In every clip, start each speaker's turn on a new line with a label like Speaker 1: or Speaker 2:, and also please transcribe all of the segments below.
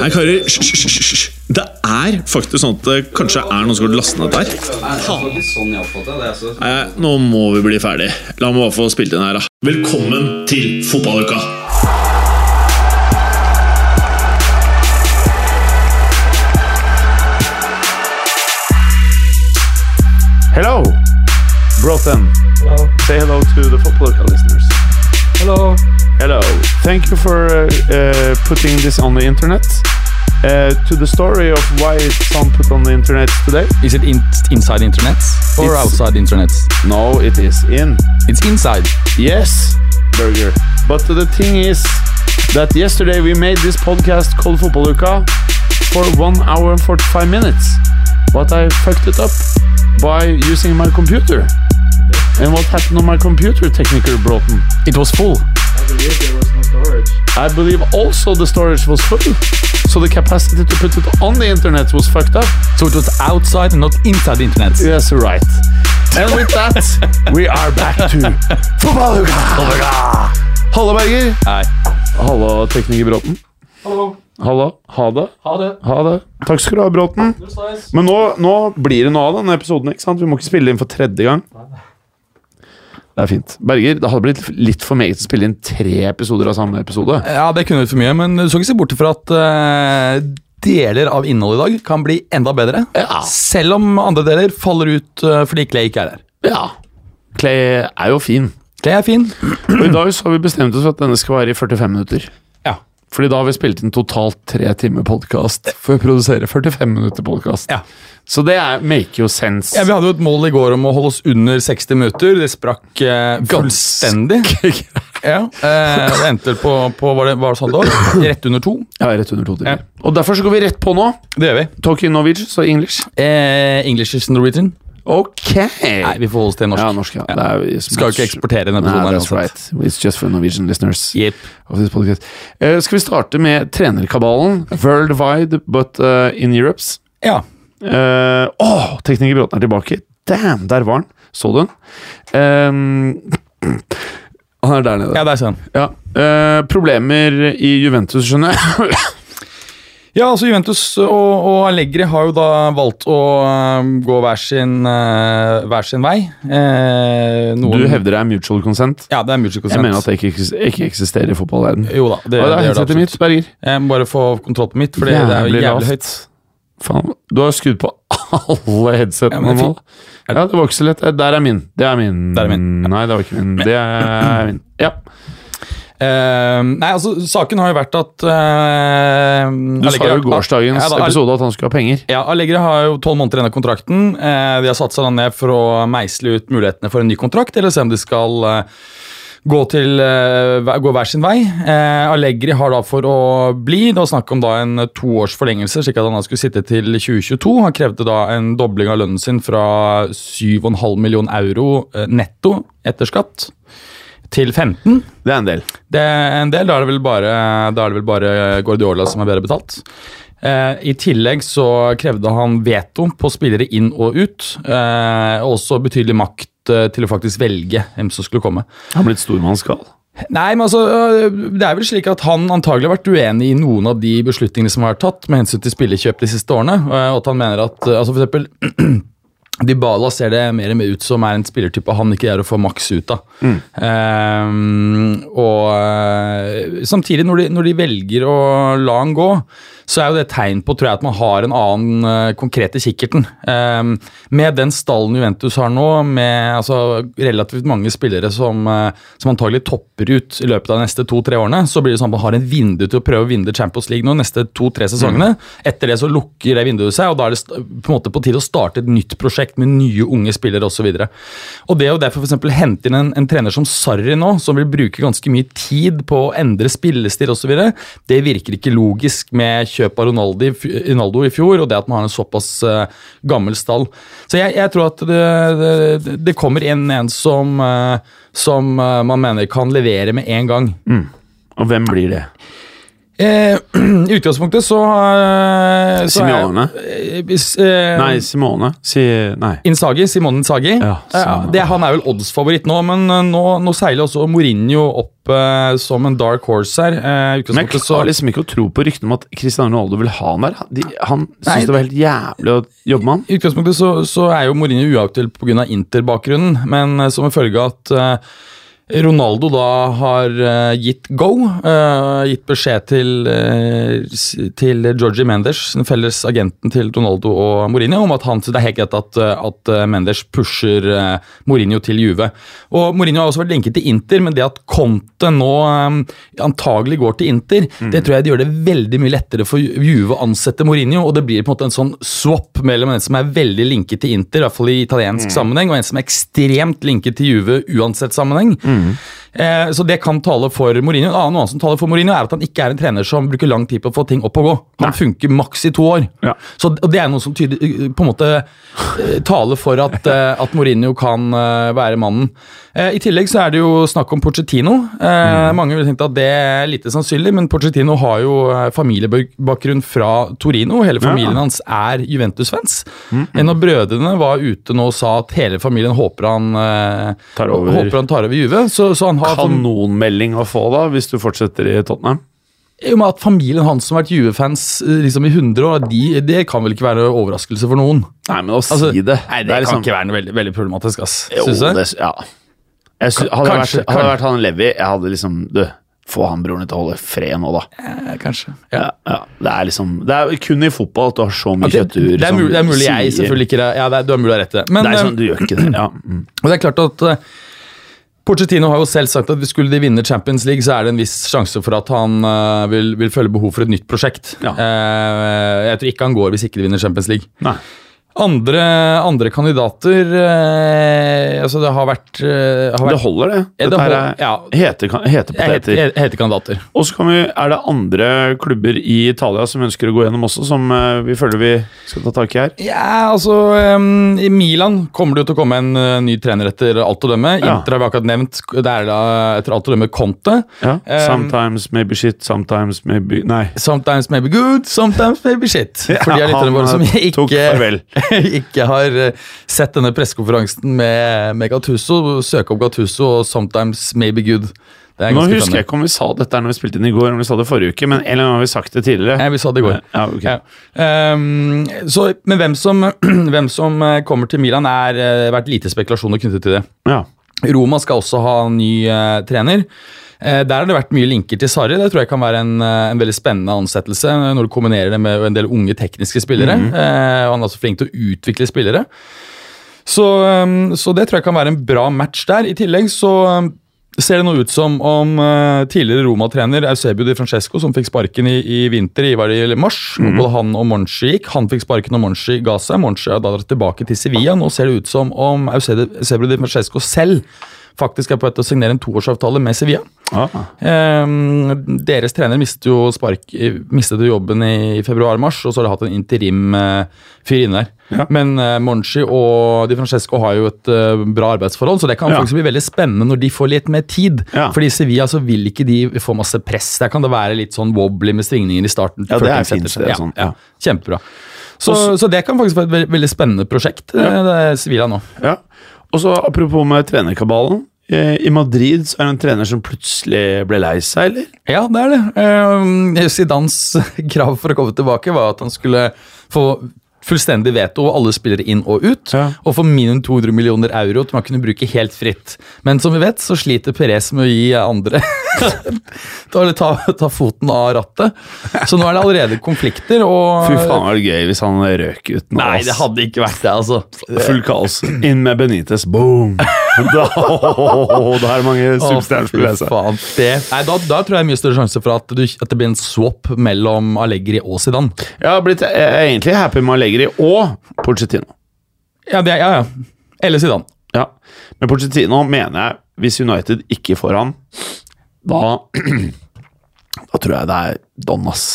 Speaker 1: Nei, karer, hysj, hysj, hysj, hysj. Det er faktisk sånn at det kanskje er noen som har lastet ned dette her.
Speaker 2: Nei, det var ikke sånn jeg oppfattet det. Altså.
Speaker 1: Nei, nå må vi bli ferdig. La meg bare få spilt inn her, da. Velkommen til fotballuka!
Speaker 3: Hello, Broughton.
Speaker 2: Hello.
Speaker 3: Say hello to the football listeners.
Speaker 2: Hello.
Speaker 3: Hello. Thank you for uh, uh, putting this on the internet. Uh, to the story of why it's on put on the internet today.
Speaker 4: Is it in inside internet or
Speaker 3: It's-
Speaker 4: outside internet?
Speaker 3: No, it is in.
Speaker 4: It's inside.
Speaker 3: Yes, Burger. But the thing is that yesterday we made this podcast called Football Luka for one hour and 45 minutes. But I fucked it up by using my computer. And what happened on my computer, Technical Broughton?
Speaker 4: It was full.
Speaker 3: I believe also the storage was full, so the capacity to put it on the internet was fucked up.
Speaker 4: So it was outside and not inside internet.
Speaker 3: Yes, right. And with that, we are back to Fotballuka! Hallo, Berger.
Speaker 4: Nei.
Speaker 3: Hallo, tekniker Bråten.
Speaker 2: Hallo.
Speaker 3: Hallo. Ha det.
Speaker 2: Ha det.
Speaker 3: Ha det. Takk skal du ha, Bråten. Men nå, nå blir det noe av denne episoden. ikke sant? Vi må ikke spille inn for tredje gang. Det er fint. Berger, det hadde blitt litt for meget å spille inn tre episoder av samme episode.
Speaker 4: Ja, det kunne vært for mye, men du skal ikke se bort fra at eh, deler av innholdet i dag kan bli enda bedre.
Speaker 3: Ja.
Speaker 4: Selv om andre deler faller ut eh, fordi Clay ikke er her.
Speaker 3: Ja. Clay er jo fin.
Speaker 4: Clay er fin.
Speaker 3: Og I dag så har vi bestemt oss for at denne skal vare i 45 minutter.
Speaker 4: Ja.
Speaker 3: Fordi da har vi spilt inn totalt tre timer podkast for å produsere 45 minutter podkast.
Speaker 4: Ja.
Speaker 3: Så det er make your sense.
Speaker 4: Ja, vi hadde jo et mål i går om å holde oss under 60 minutter. Det sprakk eh, fullstendig. Ja, eh, det endte på, på var det, var det sånn da? Rett under to.
Speaker 3: Ja, rett under to timer.
Speaker 4: Ja.
Speaker 3: Og derfor så går vi rett på nå.
Speaker 4: Det gjør vi.
Speaker 3: Talk in Norwegian, så English.
Speaker 4: Eh, English is Norwegian.
Speaker 3: Ok!
Speaker 4: Nei, vi får holde oss til norsk.
Speaker 3: Ja, norsk, ja. Det er,
Speaker 4: Skal jo ikke eksportere denne
Speaker 3: Nei,
Speaker 4: episoden. her
Speaker 3: that's
Speaker 4: uansett.
Speaker 3: right. It's just for Norwegian listeners.
Speaker 4: Yep.
Speaker 3: of this podcast. Eh, skal vi starte med trenerkabalen? Worldwide, but eh, in Europes.
Speaker 4: Ja.
Speaker 3: Eh, Åh, tekniker Bråten er tilbake. Damn, der var han. Så du den? Ehm, han er der nede.
Speaker 4: ja, der ser han.
Speaker 3: Ja. Eh, problemer i Juventus, skjønner jeg.
Speaker 4: Ja, altså Juventus og, og Allegri har jo da valgt å eh, gå hver sin, eh, hver sin vei. Eh, noen,
Speaker 3: Du hevder det er mutual consent.
Speaker 4: Ja, det er music consent.
Speaker 3: Jeg mener at det ikke, eksis- ikke eksisterer i fotballverden.
Speaker 4: Jo da, det,
Speaker 3: Hva er
Speaker 4: det gjør det
Speaker 3: headsetet mitt,
Speaker 4: absolutt.
Speaker 3: Berger?
Speaker 4: Jeg må bare få kontroll på mitt, for det er jo
Speaker 3: Jævlig
Speaker 4: jævlig
Speaker 3: lavt.
Speaker 4: høyt.
Speaker 3: Faen, du har skudd på alle
Speaker 4: Ja,
Speaker 3: headsetene
Speaker 4: men det er
Speaker 3: nå.
Speaker 4: fint.
Speaker 3: Ja, det var ikke så lett. Eh, Der er min. Det er min.
Speaker 4: Der er min.
Speaker 3: Nei, det var ikke min. Det er min. Ja.
Speaker 4: Eh, nei, altså, saken har jo vært at ehm,
Speaker 3: Du sa jo i gårsdagens episode at han skulle ha penger.
Speaker 4: Ja, Allegri har jo tolv måneder igjen av kontrakten. Eh, De har satt seg da ned for å meisle ut mulighetene for en ny kontrakt, eller se om de skal eh, gå, til, eh, hver- gå hver sin vei. Eh, Allegri har da for å bli. Det var snakk om da en toårs forlengelse, slik at han da skulle sitte til 2022. Han krevde da en dobling av lønnen sin fra 7,5 million euro eh, netto etter skatt til 15.
Speaker 3: Det er en del.
Speaker 4: Det er en del, da er det vel bare, da er det vel bare Guardiola som er bedre betalt. Eh, I tillegg så krevde han veto på spillere inn og ut, eh, og også betydelig makt eh, til å faktisk velge hvem som skulle komme.
Speaker 3: Han ble et stormannsgal.
Speaker 4: Nei, men altså, øh, det er vel slik at han antagelig har vært uenig i noen av de beslutningene som har vært tatt med hensyn til spillekjøp de siste årene, øh, og at han mener at øh, altså for eksempel Dybala ser det mer og mer ut som er en spillertype han ikke er å få maks ut av. Ehm, og øh, samtidig, når de, når de velger å la han gå, så er jo det et tegn på tror jeg, at man har en annen øh, konkret i kikkerten. Ehm, med den stallen Juventus har nå, med altså, relativt mange spillere som, eh, som antagelig topper ut i løpet av de neste to-tre årene, så blir det sånn at man har en vindu til å prøve å vinne Champions League nå, neste to-tre sesongene. Etter det så lukker det vinduet seg, og da er det st- på en måte på tide å starte et nytt prosjekt med nye unge spillere osv. Og det å derfor f.eks. hente inn en, en trener som Sarri nå, som vil bruke ganske mye tid på å endre spillestil osv., det virker ikke logisk med kjøp av Ronaldo, i fj- Ronaldo i fjor, og det at man har en såpass eh, gammel stall. Så jeg, jeg tror at det, det, det kommer inn en som, eh, som eh, man mener kan levere med en gang.
Speaker 3: Og hvem blir det?
Speaker 4: Eh, Eh, I utgangspunktet så, eh, så er-
Speaker 3: Simeone?
Speaker 4: Eh, hvis, eh,
Speaker 3: Nei, Simone. Si Nei.
Speaker 4: Inzaghi, Simone Inzaghi.
Speaker 3: Ja,
Speaker 4: Eh,
Speaker 3: Simone.
Speaker 4: det, han er vel oddsfavoritt nå, men eh, nå, nå seiler også Mourinho opp eh, som en dark horse her. Eh, i
Speaker 3: Men jeg
Speaker 4: utgangspunktet så
Speaker 3: klarer liksom ikke å tro på ryktene om at Cristiano Ronaldo vil ha han der. De, han
Speaker 4: Nei,
Speaker 3: syntes det var helt jævlig å jobbe med han.
Speaker 4: I utgangspunktet så, så er jo Mourinho uaktuell pga. Inter-bakgrunnen, men eh, som en følge av at eh, Ronaldo da har eh, gitt go, eh, gitt beskjed til, eh, s- til Georgie Mendes, den felles agenten til Ronaldo og Mourinho, om at han, det er helt greit at, eh, at eh, Mendes pusher eh, Mourinho til Juve. Og Mourinho har også vært linket til Inter, men det at Conte nå eh, antagelig går til Inter, det tror jeg det gjør det veldig mye lettere for Ju- Juve å ansette Mourinho, og det blir på en måte en sånn swap mellom en som er veldig linket til Inter, i hvert fall i italiensk sammenheng, og en som er ekstremt linket til Juve uansett sammenheng. Eh, så det kan tale for Mourinho. En annen noe annet som taler for Mourinho, er at han ikke er en trener som bruker lang tid på å få ting opp og gå. Han funker maks i to år.
Speaker 3: Ja.
Speaker 4: Så, og det er noe som tyder, på en måte eh, taler for at, eh, at Mourinho kan eh, være mannen. Eh, I tillegg så er det jo snakk om Pochettino. Eh,
Speaker 3: Mm.
Speaker 4: Mange ville tenkt at det er lite sannsynlig, men Pochettino har jo eh, familiebakgrunn fra Torino. Hele familien hans er Juventus-fans.
Speaker 3: Mm,
Speaker 4: En av brødrene var ute nå og sa at hele familien håper han, eh,
Speaker 3: Tar over.
Speaker 4: håper han tar over Juve. Så, så han har
Speaker 3: Kanonmelding å få da, hvis du fortsetter i Tottenham.
Speaker 4: I og med at familien hans som har vært Juve-fans eh, liksom i 100 år, de, det kan vel ikke være overraskelse for noen?
Speaker 3: Nei, men å
Speaker 4: Altså,
Speaker 3: si det
Speaker 4: Nei,
Speaker 3: er
Speaker 4: det, kan
Speaker 3: liksom-
Speaker 4: ikke være noe veldig, veldig problematisk, ass.
Speaker 3: Jo,
Speaker 4: Synes jeg?
Speaker 3: det s- ja. Jeg sy- hadde,
Speaker 4: Kanskje,
Speaker 3: vært, hadde
Speaker 4: kanskje.
Speaker 3: vært han Levi, jeg hadde liksom Du, få han broren din til å holde fred nå, da.
Speaker 4: Eh, kanskje. Ja.
Speaker 3: Ja, ja. Det er liksom Det er kun i fotball at du har så mye
Speaker 4: Ok,
Speaker 3: kjøttur
Speaker 4: det, er
Speaker 3: som
Speaker 4: mulig, det er mulig jeg
Speaker 3: sier-
Speaker 4: selvfølgelig ikke er- Ja, det er, du har mulig å ha rett i det. Men
Speaker 3: Det er
Speaker 4: eh,
Speaker 3: sånn, du gjør ikke det. Ja. mm.
Speaker 4: og det er klart at eh, Pochettino har jo selv sagt at hvis skulle de vinne Champions League, så er det en viss sjanse for at han eh, vil, vil føle behov for et nytt prosjekt.
Speaker 3: Ja.
Speaker 4: Eh, jeg tror ikke han går hvis ikke de vinner Champions League.
Speaker 3: Nei.
Speaker 4: Andre, andre kandidater eh, Altså, det har vært, eh, har
Speaker 3: Det
Speaker 4: vært
Speaker 3: holder, det.
Speaker 4: Ja, det
Speaker 3: Dette her
Speaker 4: hold-
Speaker 3: er
Speaker 4: ja.
Speaker 3: hete, hete
Speaker 4: jeg heter,
Speaker 3: poteter.
Speaker 4: jeg heter kandidater.
Speaker 3: Og så kan vi, er det andre klubber i Italia som ønsker å gå gjennom også, som eh, vi føler vi skal ta tak i her.
Speaker 4: Ja, altså ehm, I Milan kommer det jo til å komme en eh, ny trener etter alt å dømme.
Speaker 3: Ja.
Speaker 4: Inter har vi akkurat nevnt. Det er da etter alt å dømme Conte.
Speaker 3: Ja.
Speaker 4: Eh,
Speaker 3: sometimes maybe shit, sometimes maybe Nei.
Speaker 4: Sometimes maybe good, sometimes maybe shit. For de er lytterne våre som
Speaker 3: Han eh, tok
Speaker 4: ikke,
Speaker 3: farvel.
Speaker 4: ikke har eh, sett denne pressekonferansen med, med Gattuso. Søk opp Gattuso og sometimes maybe good. Det er
Speaker 3: Nå husker
Speaker 4: ganske
Speaker 3: jeg
Speaker 4: spennende.
Speaker 3: ikke om vi sa dette her når vi spilte inn i går, om vi sa det forrige uke, men en eller annen gang har vi sagt det tidligere. Eh,
Speaker 4: Nei, vi sa det i går.
Speaker 3: Ja, ok.
Speaker 4: Ja. Ehm, så, men hvem som, hvem som eh, kommer til Milan, er eh, vært lite spekulasjoner knyttet til det.
Speaker 3: Ja.
Speaker 4: Roma skal også ha en ny eh, trener. Eh, der har det vært mye linker til Sarri. Det tror jeg kan være en, eh, en veldig spennende ansettelse eh, når du kombinerer det med en del unge tekniske spillere. Eh, og han er også flink til å utvikle spillere. Så, eh, så det tror jeg kan være en bra match der. I tillegg så eh, ser det nå ut som om eh, tidligere Roma-trener Eusebio Di Francesco, som fikk sparken i, i vinter, i var det i mars, hvor både han og Monchi gikk. Han fikk sparken, og Monchi ga seg. Monchi har da dratt tilbake til Sevilla. Nå ser det ut som om Eusebio Eusebio Di Francesco selv faktisk er på vei til å signere en toårsavtale med Sevilla.
Speaker 3: Ja.
Speaker 4: Ehm, deres trener mistet jo spark, mistet jo jobben i, i februar-mars, og så har de hatt en interim-fyr inne der.
Speaker 3: Ja.
Speaker 4: Men eh, Monchi og Di Francesco har jo et eh, bra arbeidsforhold, så det kan
Speaker 3: Ja.
Speaker 4: faktisk bli veldig spennende når de får litt mer tid.
Speaker 3: Ja.
Speaker 4: Fordi i Sevilla så vil ikke de få masse press. Der kan det være litt sånn wobbly med svingninger i starten.
Speaker 3: Ja,
Speaker 4: før
Speaker 3: det er
Speaker 4: ting setter
Speaker 3: fint,
Speaker 4: seg.
Speaker 3: det er
Speaker 4: ja,
Speaker 3: sånn,
Speaker 4: ja.
Speaker 3: ja.
Speaker 4: Kjempebra. Så, så det kan faktisk være et veldig, veldig spennende prosjekt, eh, det er Sevilla nå.
Speaker 3: Ja. Og så apropos med trenerkabalen. eh, I Madrid så er det en trener som plutselig ble lei seg, eller?
Speaker 4: Ja, det er det. Eh, Zidans krav for å komme tilbake var at han skulle få fullstendig veto, alle spillere inn og ut,
Speaker 3: Ja.
Speaker 4: og få minimum 200 millioner euro som han kunne bruke helt fritt. Men som vi vet, så sliter Perez med å gi andre ta, ta, ta foten av rattet. Så nå er det allerede konflikter, og
Speaker 3: Fy faen, var det gøy hvis han røk ut nå.
Speaker 4: Ah, Nei,
Speaker 3: ass.
Speaker 4: det hadde ikke vært det, altså.
Speaker 3: Full kaos. Inn med Benitez. Boom! Da, da er det mange
Speaker 4: Å,
Speaker 3: superstjerner som
Speaker 4: fy
Speaker 3: blir lei seg.
Speaker 4: faen, det. Nei, da, da tror jeg det er mye større sjanse for at, du, at det blir en swap mellom Allegri og Zidane.
Speaker 3: Jeg har blitt jeg er egentlig happy med Allegri og Pochettino.
Speaker 4: Ja, det, ja, ja. Eller Zidane.
Speaker 3: Ja. Men Pochettino mener jeg, hvis United ikke får han, da Da tror jeg det er don, ass.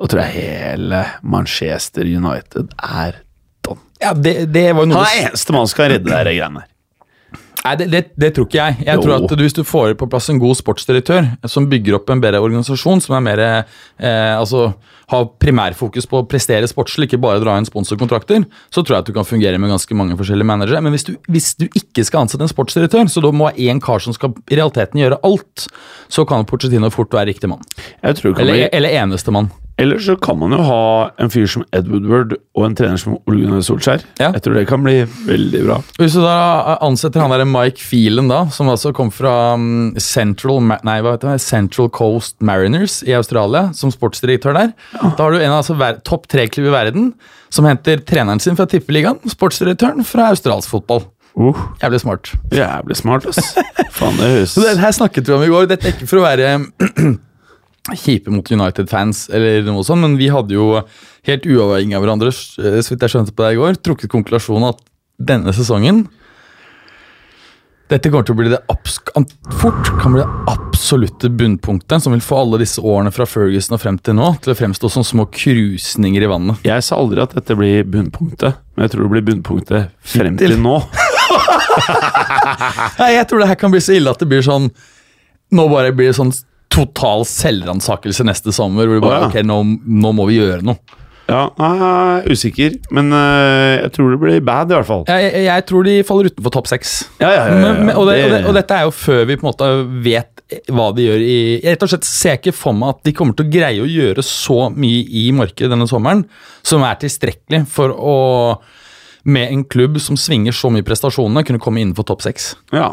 Speaker 3: Da tror jeg hele Manchester United er don.
Speaker 4: Ja, det, det var jo noe
Speaker 3: Han
Speaker 4: du-
Speaker 3: er eneste mann som kan redde de greiene der.
Speaker 4: Nei, det, det, det tror ikke jeg. Jeg
Speaker 3: Jo.
Speaker 4: tror at du, Hvis du får på plass en god sportsdirektør som bygger opp en bedre organisasjon, som er mer, eh, altså, har primærfokus på å prestere sportslig, ikke bare dra inn sponsorkontrakter, så tror jeg at du kan fungere med ganske mange forskjellige managere. Men hvis du, hvis du ikke skal ansette en sportsdirektør, så da må én kar som skal i realiteten gjøre alt, så kan Porcetino fort være riktig mann.
Speaker 3: Jeg tror kan
Speaker 4: Eller,
Speaker 3: man,
Speaker 4: eller eneste mann.
Speaker 3: ellers så kan man jo ha en fyr som Ed Woodward og en trener som Ole Gunnar Solskjær.
Speaker 4: Ja.
Speaker 3: Jeg tror det kan bli veldig bra.
Speaker 4: Hvis du da eh, ansetter han der Mike Phelan, da, som altså kom fra mm, Central, Ma- nei, hva heter det? Central Coast Mariners i Australia, som sportsdirektør der, da har du en av altså, ver- topp tre-klubb i verden som henter treneren sin fra Tippeligaen, sportsdirektøren fra australsk fotball.
Speaker 3: Uh,
Speaker 4: Jævlig smart.
Speaker 3: jævlig smart, ass. Faen, det høres
Speaker 4: Så det her snakket vi om i går. Dette er ikke for å være kjipe mot United-fans, eller noe sånt, men vi hadde jo helt uavhengig av hverandre, eh, så vidt jeg skjønte på det i går, trukket konklusjonen at denne sesongen dette kommer til å bli det abs an- fort kan bli det absolutte bunnpunktet som vil få alle disse årene fra Ferguson og frem til nå til å fremstå som små krusninger i vannet.
Speaker 3: Jeg sa aldri at dette blir bunnpunktet, men jeg tror det blir bunnpunktet frem til nå.
Speaker 4: Nei, Jeg tror det her kan bli så ille at det blir sånn Nå bare blir det sånn total selvransakelse neste sommer. Hvor det bare,
Speaker 3: Å, ja.
Speaker 4: ok, nå, nå må vi gjøre noe.
Speaker 3: Ja, nei, usikker, men øh, jeg tror det blir bad, i hvert fall.
Speaker 4: Jeg, jeg, jeg tror de faller utenfor topp seks.
Speaker 3: Ja, ja, ja, ja,
Speaker 4: Men- men- Og, det- og, det-
Speaker 3: det-
Speaker 4: og dette er jo før vi på en måte vet hva de gjør i jeg Rett og slett ser jeg ikke for meg at de kommer til å greie å gjøre så mye i markedet denne sommeren som er tilstrekkelig for å med en klubb som svinger så mye prestasjoner, kunne komme innenfor topp seks.
Speaker 3: ja.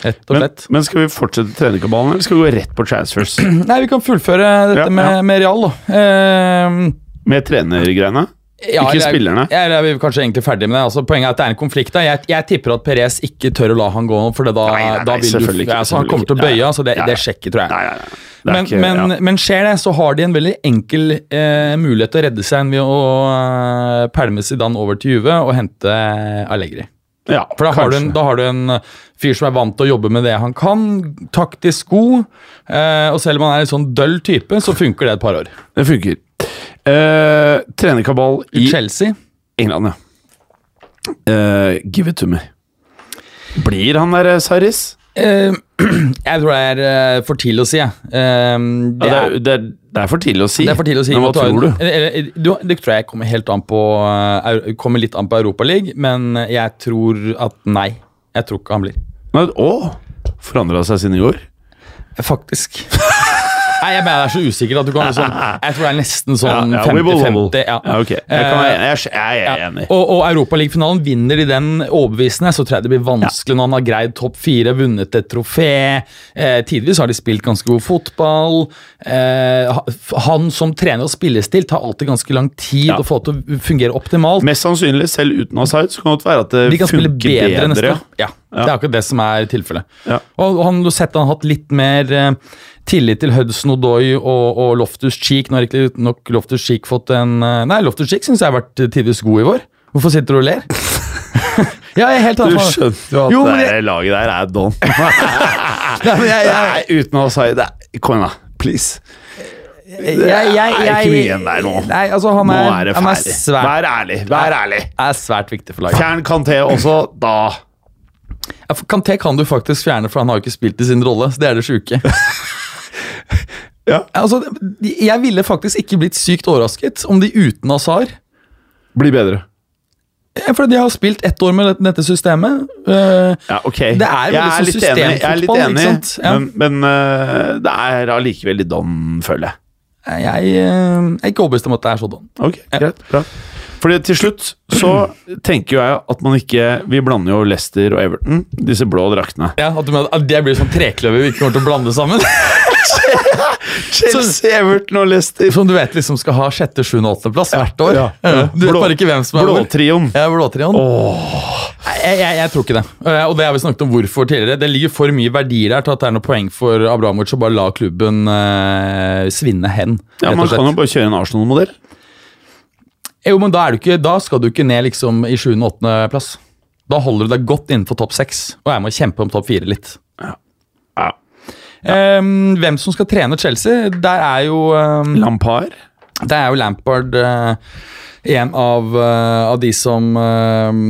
Speaker 4: Rett og
Speaker 3: Men,
Speaker 4: slett.
Speaker 3: men skal vi fortsette trenerkabalen, eller skal vi gå rett på transfers
Speaker 4: Nei, vi kan fullføre dette
Speaker 3: Ja,
Speaker 4: med,
Speaker 3: ja.
Speaker 4: med Real, da. Ehm,
Speaker 3: med trenergreiene?
Speaker 4: Ja,
Speaker 3: Ikke
Speaker 4: eller-
Speaker 3: spillerne.
Speaker 4: Ja, eller er vi kanskje egentlig ferdig med det. Altså, poenget er at det er en konflikt. Da. Jeg, jeg tipper at Perez ikke tør å la han gå, for det da,
Speaker 3: Nei, nei, nei,
Speaker 4: da vil du
Speaker 3: selvfølgelig ikke,
Speaker 4: ja, så Han
Speaker 3: selvfølgelig
Speaker 4: kommer til å
Speaker 3: ikke.
Speaker 4: bøye,
Speaker 3: Ja, ja.
Speaker 4: så
Speaker 3: Ja,
Speaker 4: det,
Speaker 3: ja.
Speaker 4: det er sjekket, tror jeg.
Speaker 3: Nei, nei, nei. Det er
Speaker 4: Men,
Speaker 3: ikke-
Speaker 4: men,
Speaker 3: ja.
Speaker 4: men skjer det, så har de en veldig enkel eh, mulighet til å redde seg ved å eh, pælme Zidane over til Juve og hente Allegri.
Speaker 3: ja,
Speaker 4: For da har, du
Speaker 3: kanskje.
Speaker 4: en, da har du en eh, fyr som er vant til å jobbe med det han kan, taktisk god, eh, og selv om han er en sånn døll type, så funker det et par år.
Speaker 3: Det funker. Eh, trenerkabal i
Speaker 4: Chelsea
Speaker 3: England, ja. Eh, give it to me. Blir han der eh, Sarris?
Speaker 4: Eh, jeg tror det er eh, for tidlig å si, jeg. Eh, det,
Speaker 3: Ja, det,
Speaker 4: er,
Speaker 3: er, det, er, det er for tidlig å si.
Speaker 4: det er for tidlig å si.
Speaker 3: Men hva
Speaker 4: Vi tar-
Speaker 3: tror du?
Speaker 4: Eller, eller, du? Det tror jeg kommer helt an på eh, eu- Kommer litt an på Europaligaen, men jeg tror at nei. Jeg tror ikke han blir.
Speaker 3: Nei, å! Forandra seg siden i går?
Speaker 4: Faktisk. Nei, jeg mener jeg er så usikker at du kan liksom Jeg tror det er nesten sånn
Speaker 3: ja, we will, we will.
Speaker 4: 50-50. Ja.
Speaker 3: Ja, ok. Jeg, kan være enig.
Speaker 4: Eh,
Speaker 3: jeg, er- jeg er enig.
Speaker 4: Og, og Europaligafinalen vinner de den overbevisende, så tror jeg det blir vanskelig når han har greid topp fire, vunnet et trofé. Eh, tidvis har de spilt ganske god fotball. Eh, ha- han som trener og spillestil tar alltid ganske lang tid
Speaker 3: Ja.
Speaker 4: å få til å fungere optimalt.
Speaker 3: Mest sannsynlig, selv uten Asaid, så kan det være at det
Speaker 4: de kan spille
Speaker 3: funker
Speaker 4: bedre, neste
Speaker 3: bedre.
Speaker 4: år. Ja, Det er akkurat det som er tilfellet.
Speaker 3: Ja.
Speaker 4: Og og han, du har sett han har hatt litt mer eh, tillit til Hudson Odoi og, og Loftus Cheek. Nå har ikke nok Loftus Cheek fått en eh, Nei, Loftus Cheek syns jeg har vært eh, tidvis god i vår. Hvorfor sitter du og ler? ja, jeg er helt
Speaker 3: Du
Speaker 4: enig.
Speaker 3: skjønte jo at
Speaker 4: Jo, men
Speaker 3: det
Speaker 4: jeg,
Speaker 3: der laget der er don.
Speaker 4: nei, men jeg, jeg,
Speaker 3: Nei, uten Asaid Kom igjen, da. Please.
Speaker 4: jeg, jeg, jeg,
Speaker 3: Det er ikke mye igjen der nå.
Speaker 4: Nei, altså, han
Speaker 3: Nå
Speaker 4: er,
Speaker 3: er det
Speaker 4: han er
Speaker 3: ferdig.
Speaker 4: svært,
Speaker 3: Vær ærlig. Vær ærlig.
Speaker 4: er svært viktig for laget.
Speaker 3: Fjern Kanté også, da.
Speaker 4: Ja, for Kanté kan du faktisk fjerne, for han har jo ikke spilt i sin rolle. Så Det er det sjuke.
Speaker 3: Ja.
Speaker 4: Altså, de- jeg ville faktisk ikke blitt sykt overrasket om de uten Azar
Speaker 3: Bli bedre.
Speaker 4: Ja, For de har spilt ett år med dette- dette systemet. eh,
Speaker 3: Ja, ok.
Speaker 4: Det er jo
Speaker 3: jeg er
Speaker 4: liksom
Speaker 3: sånn litt enig, jeg er litt
Speaker 4: systemfotball,
Speaker 3: enig
Speaker 4: ikke sant? Ja.
Speaker 3: men, men eh, det er allikevel litt don, føler jeg.
Speaker 4: Jeg eh, er ikke overbevist om at det er sånn.
Speaker 3: Ok, greit, bra. Fordi til slutt så tenker jo jeg at man ikke Vi blander jo Leicester og Everton, disse blå draktene.
Speaker 4: Ja, at, du mener at Det blir sånn trekløver vi ikke kommer til å blande sammen.
Speaker 3: Chelsea, Everton og Leicester.
Speaker 4: Som du vet liksom skal ha sjette, sjuende og åttendeplass hvert år.
Speaker 3: ja,
Speaker 4: Ja, Du vet
Speaker 3: Blå-
Speaker 4: bare ikke hvem som er hvor.
Speaker 3: Blåtrioen.
Speaker 4: Ja, Blåtrion. Jeg, jeg, jeg tror ikke det. Eh, Og det har vi snakket om hvorfor tidligere. Det ligger for mye verdier der til at det er noe poeng for Abramovic å bare la klubben eh, svinne hen.
Speaker 3: Ja,
Speaker 4: rett og
Speaker 3: man kan
Speaker 4: slett.
Speaker 3: jo bare kjøre en Arsenal-modell.
Speaker 4: Jo, men da, er du ikke, da skal du ikke ned liksom i 7. og 8. plass. Da holder du deg godt innenfor topp 6, og jeg må kjempe om topp 4 litt.
Speaker 3: Ja.
Speaker 4: Ehm, hvem som skal trene Chelsea, der er jo, ehm,
Speaker 3: Lampard.
Speaker 4: der er jo Lampard eh, en av, eh, av de som ehm,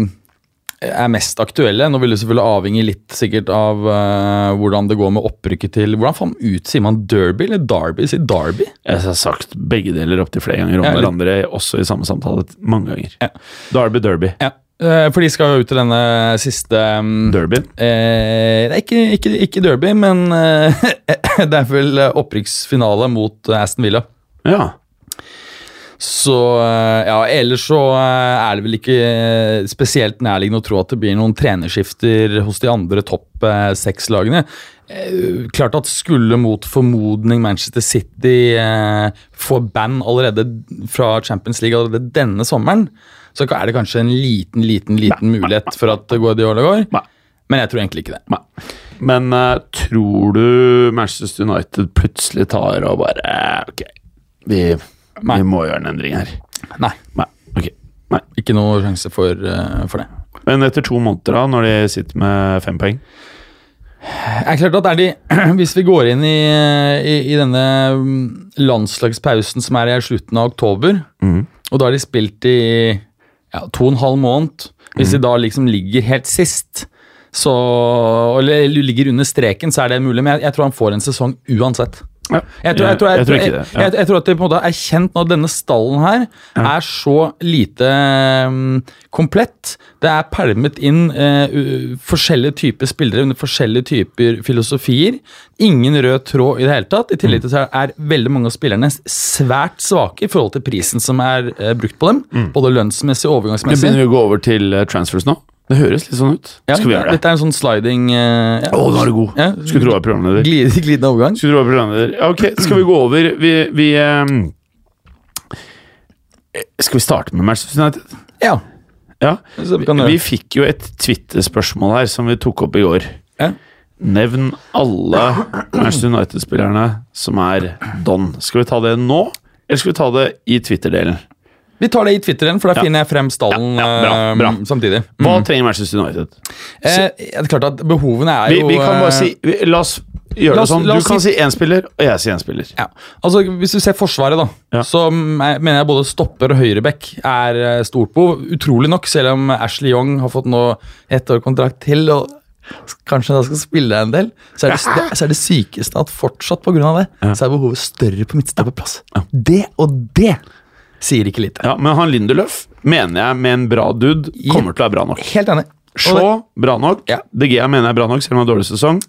Speaker 4: er mest aktuelle. Nå vil det selvfølgelig avhenge litt sikkert av eh, hvordan det går med opprykket til Hvordan faen ut sier man Derby eller Derby? Sier Derby?
Speaker 3: Jeg har sagt begge deler opptil flere ganger om
Speaker 4: Ja, litt-
Speaker 3: hverandre, også i samme samtale mange ganger. Derby, derby.
Speaker 4: Ja. Eh, For de skal jo ut til denne siste mm,
Speaker 3: Derby.
Speaker 4: Eh, det er ikke, ikke, ikke derby, men eh, det er vel eh, opprykksfinale mot eh, Aston Villa.
Speaker 3: Ja.
Speaker 4: Så eh, ja, ellers så eh, er det vel ikke eh, spesielt nærliggende å tro at det blir noen trenerskifter hos de andre topp eh, seks lagene. Eh, Klart at skulle mot formodning Manchester City eh, få band allerede fra Champions League allerede denne sommeren, så er det kanskje en liten, liten, liten mulighet for at Guardiola går.
Speaker 3: Nei.
Speaker 4: Men jeg tror egentlig ikke det.
Speaker 3: Nei. Men eh, tror du Manchester United plutselig tar og bare eh, Ok, vi,
Speaker 4: Nei.
Speaker 3: vi må gjøre en endring her.
Speaker 4: Nei.
Speaker 3: Nei. ok. Nei.
Speaker 4: Ikke noe sjanse for, eh, for det.
Speaker 3: Men etter to måneder, da, når de sitter med fem poeng
Speaker 4: Det er klart at er de, Hvis vi går inn i, i, i denne mm, landslagspausen som er i slutten av oktober, og da har de spilt i ja, to og en halv måned Hvis de da liksom ligger helt sist, så, eller ligger under streken, så er det mulig. Men jeg, jeg tror han får en sesong uansett.
Speaker 3: ja.
Speaker 4: Jeg tror, jeg, tror, jeg,
Speaker 3: jeg tror ikke det.
Speaker 4: Jeg, jeg, jeg tror at det på en måte er kjent nå at denne stallen her er så lite mm, komplett. Det er pælmet inn eh, u- forskjellige typer spillere under forskjellige typer filosofier. Ingen rød tråd i det hele tatt. I
Speaker 3: Mm.
Speaker 4: tillegg til så er veldig mange av spillerne s- svært svake i forhold til prisen som er eh, brukt på dem. Både lønnsmessig og
Speaker 3: Nå Mm.
Speaker 4: overgangsmessig.
Speaker 3: begynner vi å gå over til eh, transfers nå. Det høres litt sånn ut.
Speaker 4: Ja,
Speaker 3: Skal vi gjøre det?
Speaker 4: Dette er en sånn sliding eh, ja.
Speaker 3: Å, nå er du god!
Speaker 4: Ja.
Speaker 3: Skulle tro jeg var programleder.
Speaker 4: glid, glidende overgang.
Speaker 3: Skulle tro jeg var programleder. Ja, ok, skal vi gå over Vi, vi ehm, eh, Skal vi starte med Manchester United?
Speaker 4: Ja.
Speaker 3: Ja.
Speaker 4: Så vi
Speaker 3: Vi,
Speaker 4: kan gjøre
Speaker 3: vi
Speaker 4: det.
Speaker 3: fikk jo et Twitter-spørsmål her som vi tok opp i går.
Speaker 4: Ja.
Speaker 3: Nevn alle Manchester United-spillerne som er don. Skal vi ta det nå, eller skal vi ta det i Twitter-delen?
Speaker 4: Vi tar det i Twitteren, for da finner jeg frem stallen
Speaker 3: Ja, ja, bra,
Speaker 4: eh,
Speaker 3: bra.
Speaker 4: samtidig.
Speaker 3: Hva trenger Manchester United?
Speaker 4: Eh, det er klart at behovene er
Speaker 3: Vi,
Speaker 4: jo
Speaker 3: vi kan bare
Speaker 4: eh,
Speaker 3: si vi, La oss gjøre
Speaker 4: La oss-
Speaker 3: det sånn.
Speaker 4: la
Speaker 3: Du
Speaker 4: oss
Speaker 3: kan
Speaker 4: si-
Speaker 3: si én spiller, og jeg sier én spiller.
Speaker 4: ja. altså, Hvis du ser Forsvaret, da,
Speaker 3: Ja.
Speaker 4: så me- mener jeg både stopper og høyreback er eh, stort behov. Utrolig nok, selv om Ashley Young har fått nå ett år kontrakt til og s- kanskje da skal spille en del, så er det, det, så er det sykeste at fortsatt pga. det, så er behovet større på midtstopperplass. Det og det sier ikke lite.
Speaker 3: Ja, Men han Lindelöf mener jeg med en bra dude kommer til å være bra nok.
Speaker 4: Helt enig. Og det-
Speaker 3: Shaw, bra nok.
Speaker 4: Ja.
Speaker 3: De Gea mener jeg er bra nok, selv om han har dårlig sesong.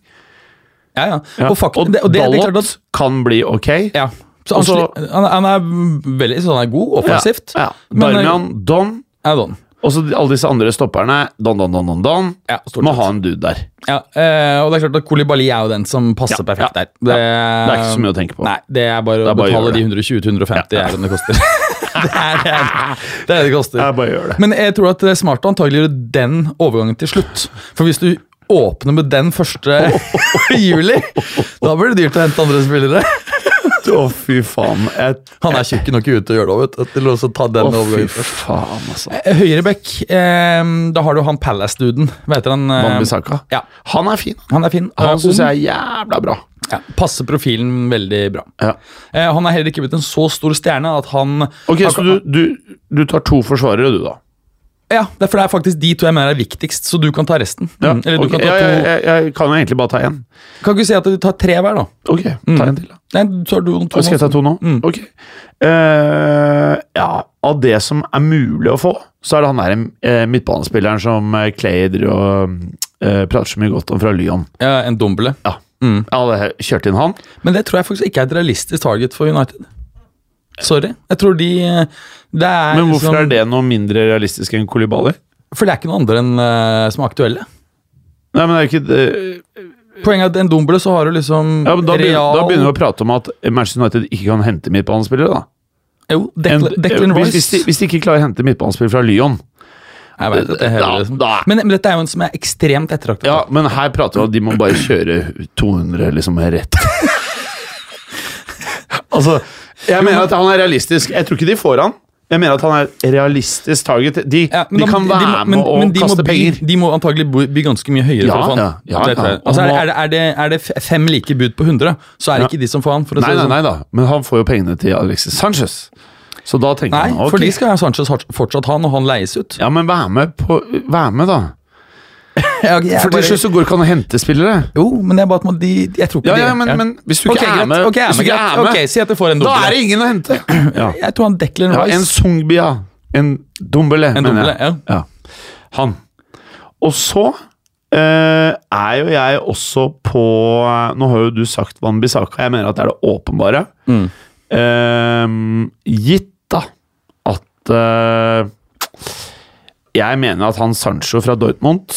Speaker 4: Ja, ja.
Speaker 3: Ja.
Speaker 4: Og, fakt,
Speaker 3: og
Speaker 4: det, og det, det er klart
Speaker 3: Dalot
Speaker 4: at
Speaker 3: kan bli ok.
Speaker 4: Ja. Så han,
Speaker 3: Og så-
Speaker 4: sli- han, han er veldig sånn, han er god offensivt.
Speaker 3: Ja, ja.
Speaker 4: men, eh,
Speaker 3: Darmian, Don,
Speaker 4: Ja, Don.
Speaker 3: og så de- alle disse andre stopperne. Don, Don, Don, Don, Don.
Speaker 4: Ja, stort
Speaker 3: Må
Speaker 4: sett.
Speaker 3: ha en dude der.
Speaker 4: Ja, eh, og det er klart at Kolibali er jo den som passer
Speaker 3: Ja,
Speaker 4: perfekt
Speaker 3: ja,
Speaker 4: der. Det,
Speaker 3: Det er ikke så mye å tenke på.
Speaker 4: Nei, det er bare
Speaker 3: Det
Speaker 4: å
Speaker 3: er bare å
Speaker 4: betale
Speaker 3: gjøre
Speaker 4: de
Speaker 3: det.
Speaker 4: 120-150 euroene det koster. det, er, det, er, det er det det koster.
Speaker 3: Jeg bare gjør det.
Speaker 4: Men jeg tror at det er smart å antagelig gjøre den overgangen til slutt. For hvis du åpner med den første juli, da blir det dyrt å hente andre spillere.
Speaker 3: Å, fy faen. Jeg,
Speaker 4: Han er tjukk nok i huet til å gjøre det òg, vet du. Til å også ta den
Speaker 3: å, fy
Speaker 4: overgangen.
Speaker 3: faen, altså.
Speaker 4: Um, Høyrebekk, eh, da har du han Palace-duden. Hva heter han? eh,
Speaker 3: Wan-Bissaka.
Speaker 4: ja.
Speaker 3: Han er fin.
Speaker 4: Han er fin. Eh,
Speaker 3: Han syns
Speaker 4: ung.
Speaker 3: jeg er jævla bra.
Speaker 4: ja, passer profilen veldig bra.
Speaker 3: Ja.
Speaker 4: Eh, han er heller ikke blitt en så stor stjerne at han Altså,
Speaker 3: Ok,
Speaker 4: han,
Speaker 3: Så du, du, du tar to forsvarere, du, da?
Speaker 4: Ja, det er for det er faktisk de to jeg mener er viktigst, så du kan ta resten.
Speaker 3: Ja,
Speaker 4: Mm, Eller
Speaker 3: ok.
Speaker 4: du kan ta
Speaker 3: Ja,
Speaker 4: to.
Speaker 3: jeg, jeg, jeg kan jo egentlig bare ta én.
Speaker 4: Kan ikke du si at du tar tre hver, da?
Speaker 3: Ok,
Speaker 4: Mm.
Speaker 3: ta en til, da.
Speaker 4: Nei, du tar du to.
Speaker 3: Og skal jeg ta
Speaker 4: nå.
Speaker 3: to nå?
Speaker 4: Mm.
Speaker 3: Ok. Eh, ja, av det som er mulig å få, så er det han der eh, midtbanespilleren som eh, Clay driver og eh, prater så mye godt om fra Lyon.
Speaker 4: Ja, en dombele.
Speaker 3: Ja.
Speaker 4: Mm.
Speaker 3: Jeg hadde kjørt inn han.
Speaker 4: Men det tror jeg faktisk ikke er et realistisk target for United. Sorry. Jeg tror de eh, Det er
Speaker 3: Men hvorfor
Speaker 4: liksom-
Speaker 3: er det noe mindre realistisk enn Kolibali?
Speaker 4: For det er ikke noen andre enn eh, som er aktuelle.
Speaker 3: Nei, men det er jo ikke det-
Speaker 4: Poenget er at en dombele så har du liksom
Speaker 3: ja, men da, begynner,
Speaker 4: Real
Speaker 3: da begynner vi å prate om at Manchester United ikke kan hente midtbanespillere, da.
Speaker 4: Jo,
Speaker 3: En-
Speaker 4: Declan, Declan
Speaker 3: hvis,
Speaker 4: Rice.
Speaker 3: hvis, de, hvis de ikke klarer å hente midtbanespillere fra Lyon
Speaker 4: jeg vet, det er
Speaker 3: Da-
Speaker 4: heller, liksom.
Speaker 3: da-
Speaker 4: men, men dette er jo en som er ekstremt ettertraktet.
Speaker 3: Ja, men her prater vi om at de må bare kjøre 200 liksom rett. altså, jeg mener at han er realistisk. Jeg tror ikke de får han. Jeg mener at han er realistisk target. De,
Speaker 4: Ja, men
Speaker 3: de
Speaker 4: da-
Speaker 3: kan være
Speaker 4: må- men-
Speaker 3: med og
Speaker 4: men de må
Speaker 3: kaste
Speaker 4: bli-
Speaker 3: penger.
Speaker 4: De må antagelig bo- bli ganske mye
Speaker 3: Ja,
Speaker 4: høyere for å få han.
Speaker 3: ja, ja,
Speaker 4: Det tror jeg.
Speaker 3: ja.
Speaker 4: Altså, er,
Speaker 3: Og
Speaker 4: er, det, er, det, er det f- fem like bud på 100, så er det
Speaker 3: Ja.
Speaker 4: ikke de som får han. For å si
Speaker 3: Nei,
Speaker 4: det
Speaker 3: nei,
Speaker 4: sånn.
Speaker 3: nei da. Men han får jo pengene til Alexis Sanchez. Så da tenker
Speaker 4: Nei,
Speaker 3: han ok.
Speaker 4: for de skal Sanchez hort- fortsatt ha når han leies ut.
Speaker 3: Ja, men vær med, på, vær med da.
Speaker 4: Jeg, jeg
Speaker 3: For til
Speaker 4: bare-
Speaker 3: slutt så går det ikke an å hente spillere.
Speaker 4: Jo, men jeg bare må de Jeg tror ikke
Speaker 3: Ja,
Speaker 4: de
Speaker 3: ja, men, men hvis du
Speaker 4: Ok,
Speaker 3: ikke er
Speaker 4: greit.
Speaker 3: med,
Speaker 4: Ok, jeg
Speaker 3: hvis du ikke
Speaker 4: greit.
Speaker 3: er med
Speaker 4: Ok, Si at jeg får en
Speaker 3: da
Speaker 4: dobbel.
Speaker 3: er det ingen å hente. Ja,
Speaker 4: Jeg tror han Declan
Speaker 3: ja
Speaker 4: Rice.
Speaker 3: En Sungbia. En Dombele,
Speaker 4: En
Speaker 3: mener
Speaker 4: doble,
Speaker 3: jeg.
Speaker 4: ja.
Speaker 3: Ja. Han. Og så eh, er jo jeg også på eh, Nå har jo du sagt Wanbisaka, jeg mener at det er det åpenbare.
Speaker 4: Mm.
Speaker 3: Eh, gitt da at eh, Jeg mener at han Sancho fra Dortmund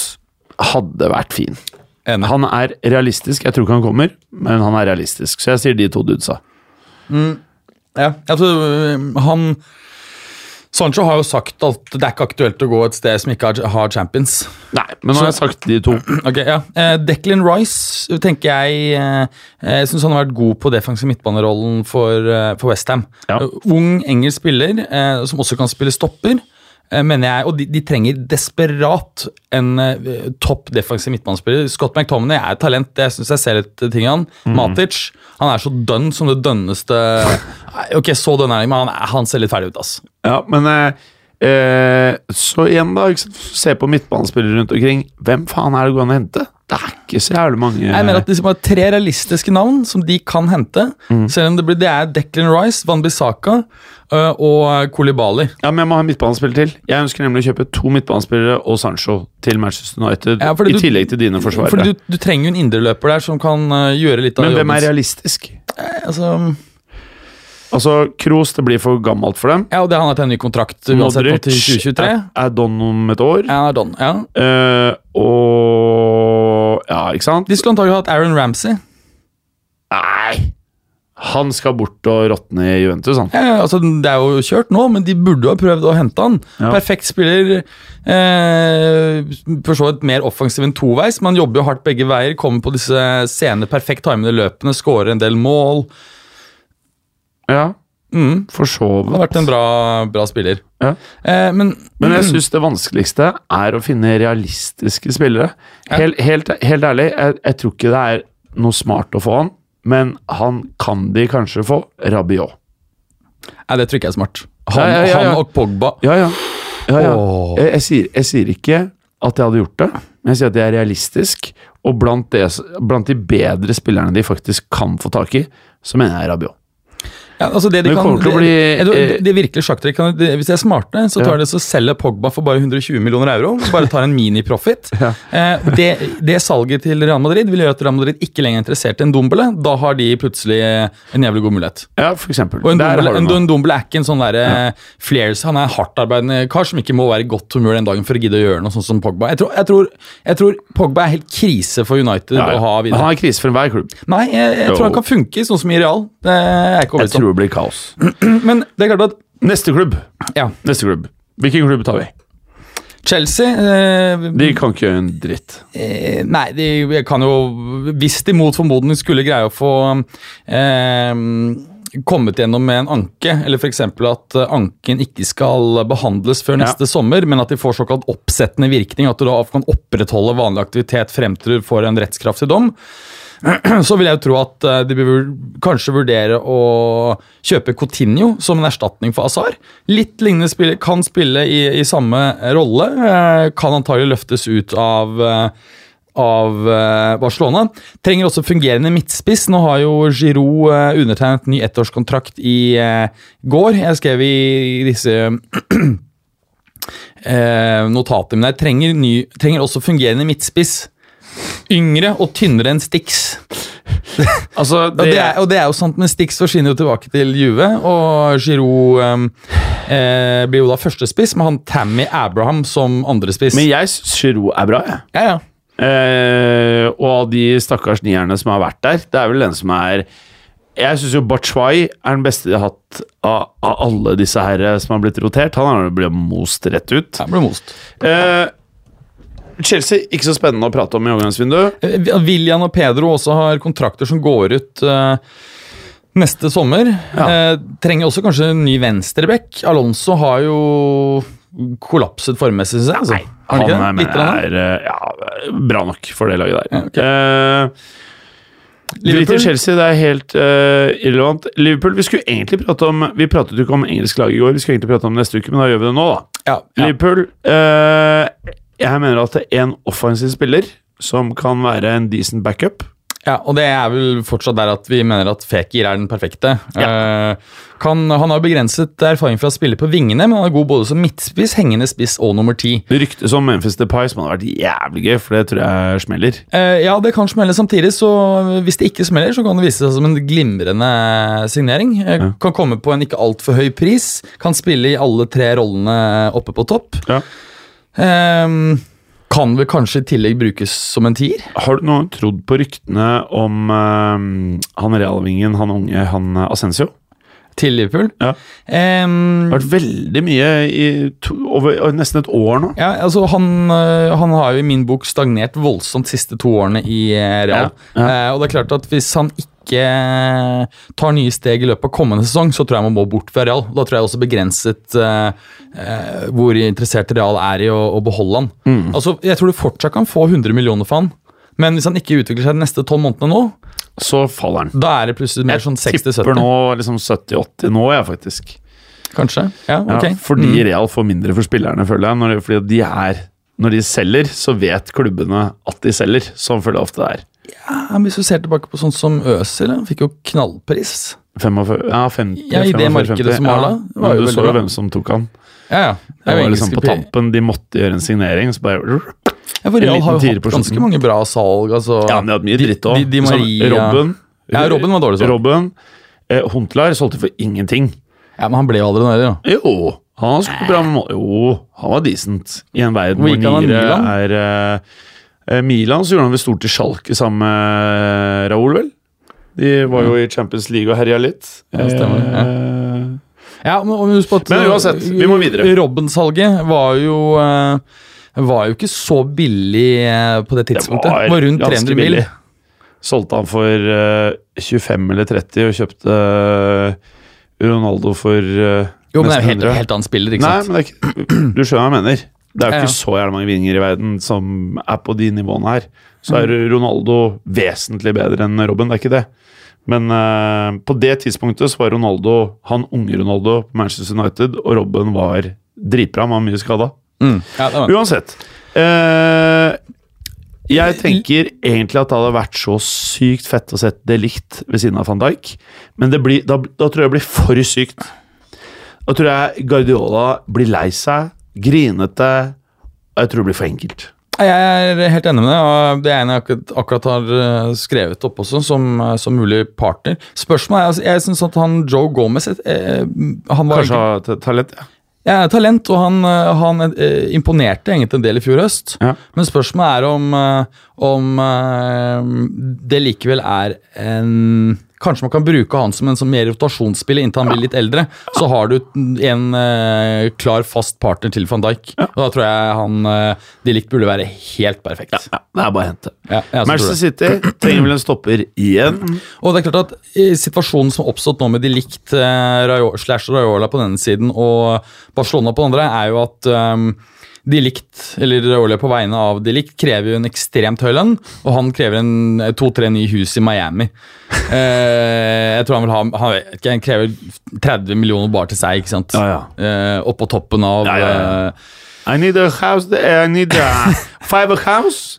Speaker 3: hadde vært fin.
Speaker 4: Enig.
Speaker 3: Han er realistisk. Jeg tror ikke han kommer, men han er realistisk. Så jeg sier de to dudesa.
Speaker 4: Ja, altså, øh, han Sancho har jo sagt at det er ikke aktuelt å gå et sted som ikke har- har champions.
Speaker 3: Nei, men nå har jeg sagt de to.
Speaker 4: Ok, ja. Eh, Declan Rice tenker jeg eh, Jeg syns han har vært god på defensiv midtbanerollen for, eh, for Westham.
Speaker 3: Ja.
Speaker 4: Ung engelsk spiller eh, som også kan spille stopper, eh, mener jeg. Og de, de trenger desperat en eh, topp defensiv midtbanespiller. Scott McTominay er et talent, det syns jeg ser litt ting i han. Matic han er så dønn som det dønneste Nei, Ok, så dønn er han, ikke, men han, er- han ser litt ferdig ut, ass.
Speaker 3: Ja, men eh, eh, Så igjen, da. Ikke sant? Se på midtbanespillere rundt omkring. Hvem faen er det går an å hente? Det er ikke så jævlig mange.
Speaker 4: Jeg mener at de som har tre realistiske navn som de kan hente. Selv om det, blir, det er Declan Rice, Van Bissaka øh, og Kolibali.
Speaker 3: Ja, men Jeg må ha en midtbanespiller til. Jeg ønsker nemlig å kjøpe to midtbanespillere og Sancho til Manchester United.
Speaker 4: Ja, fordi
Speaker 3: I
Speaker 4: du-
Speaker 3: tillegg til dine
Speaker 4: Fordi
Speaker 3: forsvarere.
Speaker 4: du, du trenger jo en indreløper der som kan øh, gjøre litt av
Speaker 3: men hvem
Speaker 4: jobben.
Speaker 3: er realistisk?
Speaker 4: altså,
Speaker 3: Altså, Kroos, det blir for gammelt for dem.
Speaker 4: ja, og det Han har til en ny kontrakt uansett nå til 2023.
Speaker 3: er, er don om et år.
Speaker 4: Ja, han er done, ja.
Speaker 3: Eh, og Ja, ikke sant?
Speaker 4: De skulle antagelig hatt Aaron Ramsey.
Speaker 3: Nei! Han skal bort og råtne i Juventus, han.
Speaker 4: Ja, ja, altså, det er jo kjørt nå, men de burde jo ha prøvd å hente han.
Speaker 3: Ja.
Speaker 4: Perfekt spiller. Eh, for så vidt mer offensiv enn toveis. Man jobber jo hardt begge veier. Kommer på disse sene, perfekt timede løpene, skårer en del mål.
Speaker 3: Ja,
Speaker 4: Mm,
Speaker 3: for så
Speaker 4: han har
Speaker 3: vidt.
Speaker 4: vært en bra, bra spiller.
Speaker 3: Ja.
Speaker 4: Eh, men
Speaker 3: Men jeg syns det vanskeligste er å finne realistiske spillere. Helt, helt, helt ærlig, jeg, jeg tror ikke det er noe smart å få han, men han kan de kanskje få. Rabiot.
Speaker 4: Nei, det tror jeg ikke er smart. Han,
Speaker 3: Ja, ja, ja, ja.
Speaker 4: han og Pogba.
Speaker 3: Ja, ja. ja, ja.
Speaker 4: Åh.
Speaker 3: Jeg, jeg, sier, jeg sier ikke at jeg hadde gjort det, men jeg sier at det er realistisk. Og blant, det, blant de bedre spillerne de faktisk kan få tak i, så mener jeg Rabiot.
Speaker 4: Ja, altså det de
Speaker 3: Men det
Speaker 4: kan,
Speaker 3: kommer til å bli,
Speaker 4: det, det,
Speaker 3: eh,
Speaker 4: det virkelige sjakktrekk kan- det- Hvis de er smarte, så tar
Speaker 3: Ja.
Speaker 4: de så selger Pogba for bare 120 millioner euro. Bare tar en mini-profit. Eh, det, det salget til Real Madrid vil gjøre at Real Madrid ikke lenger er interessert i en Dombele. Da har de plutselig eh, en jævlig god mulighet.
Speaker 3: Ja, for eksempel.
Speaker 4: Og en
Speaker 3: Der
Speaker 4: Dombele,
Speaker 3: har du
Speaker 4: en,
Speaker 3: noe.
Speaker 4: en Dombele er ikke en sånn derre flares. Han er en hardtarbeidende kar som ikke må være i godt humør den dagen for å gidde å gjøre noe sånn som Pogba. Jeg tror, jeg tror, jeg tror Pogba er helt krise for United
Speaker 3: Ja, ja.
Speaker 4: å ha
Speaker 3: Men
Speaker 4: videre.
Speaker 3: Han er krise for enhver klubb.
Speaker 4: Nei, jeg, jeg
Speaker 3: Jo.
Speaker 4: tror han kan funke sånn som i Real. Det er jeg ikke
Speaker 3: Jeg
Speaker 4: overbevist om.
Speaker 3: tror det blir kaos.
Speaker 4: Men det er klart at
Speaker 3: Neste klubb.
Speaker 4: Ja.
Speaker 3: Neste klubb. Hvilken klubb tar vi?
Speaker 4: Chelsea eh,
Speaker 3: De kan ikke gjøre en dritt.
Speaker 4: eh, Nei, de kan jo Hvis de mot formodning skulle greie å få eh, kommet gjennom med en anke, eller f.eks. at eh, anken ikke skal behandles før
Speaker 3: Ja.
Speaker 4: neste sommer, men at de får såkalt oppsettende virkning, at du da kan opprettholde vanlig aktivitet frem til du får en rettskraftig dom, så vil jeg jo tro at eh, de bør kanskje vurdere å kjøpe Coutinho som en erstatning for Azar. Litt lignende spiller, kan spille i, i samme rolle. eh, Kan antagelig løftes ut av eh, av eh, Barcelona. Trenger også fungerende midtspiss. Nå har jo Giroud eh, undertegnet ny ettårskontrakt i eh, går. Jeg skrev i disse eh, notater mine her. Trenger, ny, trenger også fungerende midtspiss. Yngre og tynnere enn Stix.
Speaker 3: Altså,
Speaker 4: Ja, det er, og det er jo sant, men Stix forsvinner jo tilbake til Juve, og Giroud ehm, eh, blir jo da førstespiss, med han Tammy Abraham som andrespiss.
Speaker 3: Men jeg syns Giroud er bra, jeg.
Speaker 4: Ja, ja.
Speaker 3: Eh, og av de stakkars nierne som har vært der, det er vel den som er Jeg syns jo Bachwai er den beste de har hatt av, av alle disse her eh, som har blitt rotert. Han har jo blitt most rett ut.
Speaker 4: Han ble most.
Speaker 3: Eh, Chelsea, ikke så spennende å prate om i overgangsvinduet.
Speaker 4: Eh, William og Pedro også har kontrakter som går ut eh, neste sommer. Eh, trenger også kanskje en ny venstreback. Alonso har jo kollapset formmessig, syns jeg. Altså. Har
Speaker 3: Han er,
Speaker 4: ikke Litt grann, da?
Speaker 3: mener jeg er eh, ja, bra nok for det laget der.
Speaker 4: Ja, ok.
Speaker 3: Eh, Drit i
Speaker 4: Liverpool?
Speaker 3: Chelsea, det er helt eh, irrelevant. Liverpool, Vi skulle egentlig prate om Vi pratet jo ikke om engelsk lag i går, vi skulle egentlig prate om det neste uke, men da gjør vi det nå, da.
Speaker 4: Ja, ja.
Speaker 3: Liverpool eh, Jeg mener at det er en offensiv spiller som kan være en decent backup.
Speaker 4: Ja, og det er vel fortsatt der at vi mener at Fekir er den perfekte. Eh, kan, han har begrenset erfaring fra å spille på vingene, men han er god både som midtspiss, hengende spiss og nummer ti.
Speaker 3: Ryktet som Memphis Depay, som hadde vært jævlig gøy, for det tror jeg smeller.
Speaker 4: Eh, ja, det kan smelle samtidig, så hvis det ikke smeller, så kan det vise seg som en glimrende signering. Eh, Kan komme på en ikke altfor høy pris, kan spille i alle tre rollene oppe på topp.
Speaker 3: Ja.
Speaker 4: Eh, kan vel kanskje i tillegg brukes som en tier?
Speaker 3: Har du noen trodd på ryktene om eh, han realvingen, han unge, han eh, Asensio?
Speaker 4: Til Liverpool?
Speaker 3: Ja.
Speaker 4: Eh,
Speaker 3: Det har vært veldig mye i to, over over nesten et år nå.
Speaker 4: Ja, altså han, øh, han har jo i min bok stagnert voldsomt siste to årene i eh, Real.
Speaker 3: Ja,
Speaker 4: Eh, og det er klart at hvis han ikke eh, tar nye steg i løpet av kommende sesong, så tror jeg man må bort fra Real. Da tror jeg også begrenset eh, eh, hvor interessert Real er i å, å beholde han.
Speaker 3: Mm.
Speaker 4: Altså, Jeg tror du fortsatt kan få 100 millioner for han. Men hvis han ikke utvikler seg de neste tolv månedene nå,
Speaker 3: Så faller han.
Speaker 4: da er det plutselig mer sånn
Speaker 3: Tipper
Speaker 4: 60-70.
Speaker 3: nå liksom 70-80 nå, jeg, faktisk.
Speaker 4: Kanskje? Ja,
Speaker 3: Ja,
Speaker 4: ok. Mm.
Speaker 3: Fordi Real får mindre for spillerne, føler jeg. Når, fordi de er, når de selger, så vet klubbene at de selger. Sånn føler jeg ofte det er.
Speaker 4: Ja, men hvis du ser tilbake på sånn som Øsil, han fikk jo knallpris.
Speaker 3: 45, ja, 50,
Speaker 4: Ja, i det
Speaker 3: 45,
Speaker 4: markedet
Speaker 3: 50,
Speaker 4: som var da,
Speaker 3: ja.
Speaker 4: var jo
Speaker 3: Men Du
Speaker 4: veldig
Speaker 3: så jo
Speaker 4: bra.
Speaker 3: hvem som tok han.
Speaker 4: Ja, ja.
Speaker 3: Det
Speaker 4: er jo
Speaker 3: var
Speaker 4: engelske
Speaker 3: liksom på
Speaker 4: pri-
Speaker 3: tampen. De måtte gjøre en signering, så bare
Speaker 4: Ja, for
Speaker 3: En
Speaker 4: Real
Speaker 3: liten
Speaker 4: har jo
Speaker 3: tier
Speaker 4: hatt
Speaker 3: på
Speaker 4: ganske
Speaker 3: slutten.
Speaker 4: mange bra salg. Altså.
Speaker 3: Ja, men de hadde mye dritt òg.
Speaker 4: Di- Di Maria.
Speaker 3: Robben.
Speaker 4: Ja, Robben var dårlig sånn.
Speaker 3: Robben. Eh, Huntelaar solgte for ingenting.
Speaker 4: Ja, Men han ble jo aldri nøye, da.
Speaker 3: Jo, han har skutt bra med mål. Jo, han var decent. I en verden
Speaker 4: Hvor
Speaker 3: hvor
Speaker 4: gikk han av
Speaker 3: nyere er eh, eh, Milan, så gjorde han vel stort i Schalke sammen med Raoul, vel? De var jo i Champions League og herja litt.
Speaker 4: Ja, stemmer det,
Speaker 3: Eh,
Speaker 4: Ja, men, og husk på at, eh,
Speaker 3: Men uansett, vi må videre.
Speaker 4: Robben-salget var jo eh, var jo ikke så billig eh, på det tidspunktet. Det var, rundt
Speaker 3: ganske
Speaker 4: 300 mil.
Speaker 3: billig. Solgte han for eh, 25 eller 30 og kjøpte eh, Ronaldo for eh,
Speaker 4: Jo, men det er jo
Speaker 3: nesten
Speaker 4: helt,
Speaker 3: 100.
Speaker 4: helt annen spiller, ikke
Speaker 3: Nei,
Speaker 4: sant?
Speaker 3: men det er ikke, du skjønner hva jeg mener. Det er jo
Speaker 4: Ja, ja.
Speaker 3: ikke så jævlig mange vinger i verden som er på de nivåene her. Så er
Speaker 4: Mm.
Speaker 3: Ronaldo vesentlig bedre enn Robben, det er ikke det. Men eh, på det tidspunktet så var Ronaldo han unge Ronaldo på Manchester United, og Robben var dritbra, men han var mye skada.
Speaker 4: Mm. Ja, det var.
Speaker 3: Uansett. eh, jeg tenker egentlig at det hadde vært så sykt fett å sette det likt ved siden av van Dijk, men det blir, da, da tror jeg det blir for sykt. Da tror jeg Guardiola blir lei seg, grinete, og jeg tror det blir for enkelt.
Speaker 4: Jeg er helt enig med det. og Det er en jeg akkurat, akkurat har eh, skrevet opp også, som, eh, som mulig partner. Spørsmålet er altså, Jeg syns at han Joe Gomez eh, han var
Speaker 3: Kanskje ha ta- talent, ja.
Speaker 4: Ja, talent, og han, eh, han eh, imponerte egentlig en del i fjor høst.
Speaker 3: Ja.
Speaker 4: Men spørsmålet er om, eh, om eh, det likevel er en Kanskje man kan bruke han som en sånn mer rotasjonsspiller inntil han blir litt eldre. Så har du en eh, klar, fast partner til van Dijk. Og da tror jeg han eh, de likt burde være helt perfekt.
Speaker 3: ja. Det er bare å hente.
Speaker 4: Ja, jeg også tror
Speaker 3: Manchester
Speaker 4: det.
Speaker 3: City trenger vel en stopper igjen.
Speaker 4: Og det er klart at i situasjonen som oppstått nå med de likt eh, Rajo- slash Raiola på denne siden og Barcelona på den andre, er jo at ehm, de likt, eller Raiola på vegne av de likt, krever jo en ekstremt høy lønn, og han krever en eh, to-tre nye hus i Miami. Eh, jeg tror han vil ha han, vet ikke, han krever 30 millioner bare til seg, ikke sant?
Speaker 3: Ja,
Speaker 4: Eh, oppå toppen av
Speaker 3: Ja, ja, ja.
Speaker 4: eh,
Speaker 3: I need a house. there. I need a fiber house.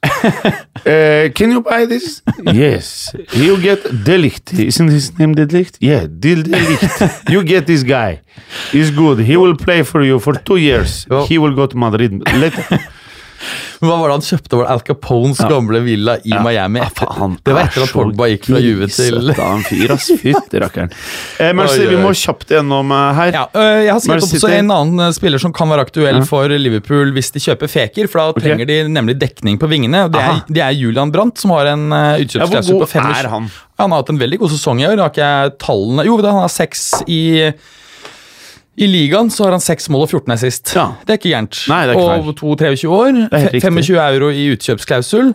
Speaker 3: Uh, can you buy this? Yes. You get Delict. Isn't his name Delict? Yeah, Del- Delict. You get this guy. He's good. He will play for you for two years.
Speaker 4: Ja.
Speaker 3: He will go to Madrid later.
Speaker 4: Men Hva var det han kjøpte? Var det Al Capones gamle villa i Miami?
Speaker 3: Ah,
Speaker 4: Etter, det var etter at Pogba gikk fra Juve til
Speaker 3: Grisete av en fyr, ass. Fytti rakkeren. Eh, men
Speaker 4: Oi, oi,
Speaker 3: vi
Speaker 4: oi.
Speaker 3: må kjapt gjennom eh, her.
Speaker 4: Ja, øh, jeg har skrevet
Speaker 3: Manchester
Speaker 4: opp også
Speaker 3: City.
Speaker 4: en annen øh, spiller som kan være aktuell for Liverpool hvis de kjøper Feker, for da trenger de nemlig dekning på vingene. og Det er,
Speaker 3: Aha.
Speaker 4: det er Julian Brandt som har en øh,
Speaker 3: Ja, hvor
Speaker 4: utkjøpsklausul
Speaker 3: god
Speaker 4: på fem.
Speaker 3: er han?
Speaker 4: Han har hatt en veldig god sesong i år. Har ikke jeg tallene Jo, da, han har seks i i ligaen så har han seks mål og 14 er sist.
Speaker 3: Ja.
Speaker 4: Det er ikke gærent.
Speaker 3: Nei, det er ikke feil.
Speaker 4: og 22-23 år.
Speaker 3: er helt
Speaker 4: fe-
Speaker 3: riktig.
Speaker 4: 25 euro i utkjøpsklausul.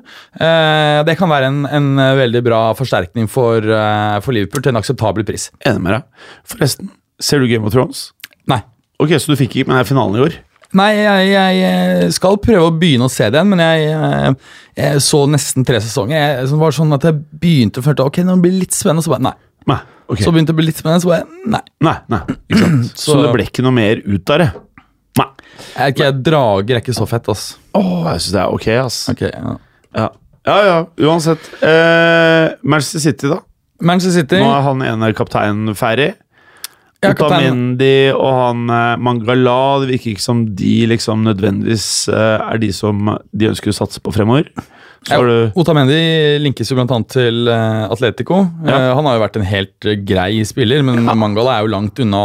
Speaker 4: Eh, det kan være en, en øh, veldig bra forsterkning for, øh, for Liverpool til en akseptabel pris.
Speaker 3: Enig med deg. Forresten, ser du Game of Thrones?
Speaker 4: Nei.
Speaker 3: Ok, så du fikk ikke med deg finalen i år?
Speaker 4: Nei, jeg, jeg eh, skal prøve å begynne å se den, men jeg, eh, jeg så nesten tre sesonger. Jeg, som var sånn at jeg begynte å føle at, ok, nå blir det litt spennende, så bare nei.
Speaker 3: Nei. ok.
Speaker 4: Så begynte det å bli litt spennende, så bare nei.
Speaker 3: Nei, nei, ikke sant. Så,
Speaker 4: Så-
Speaker 3: det ble ikke noe mer ut av det. Nei.
Speaker 4: Jeg er ikke, drager er ikke så fett, ass.
Speaker 3: Åh, jeg syns det er ok, ass.
Speaker 4: Ok, ja.
Speaker 3: Ja. ja, ja, uansett. Eh, Manchester City, da.
Speaker 4: Manchester City
Speaker 3: Nå er han ene kapteinen ferdig.
Speaker 4: ja, kaptein.
Speaker 3: Utamendi og han eh, Mangala Det virker ikke som de liksom nødvendigvis eh, er de som de ønsker å satse på fremover. Så har du
Speaker 4: Otamendi linkes jo blant annet til eh, Atletico.
Speaker 3: Ja.
Speaker 4: Eh, han har jo vært en helt eh, grei spiller, men Mangala er jo langt unna,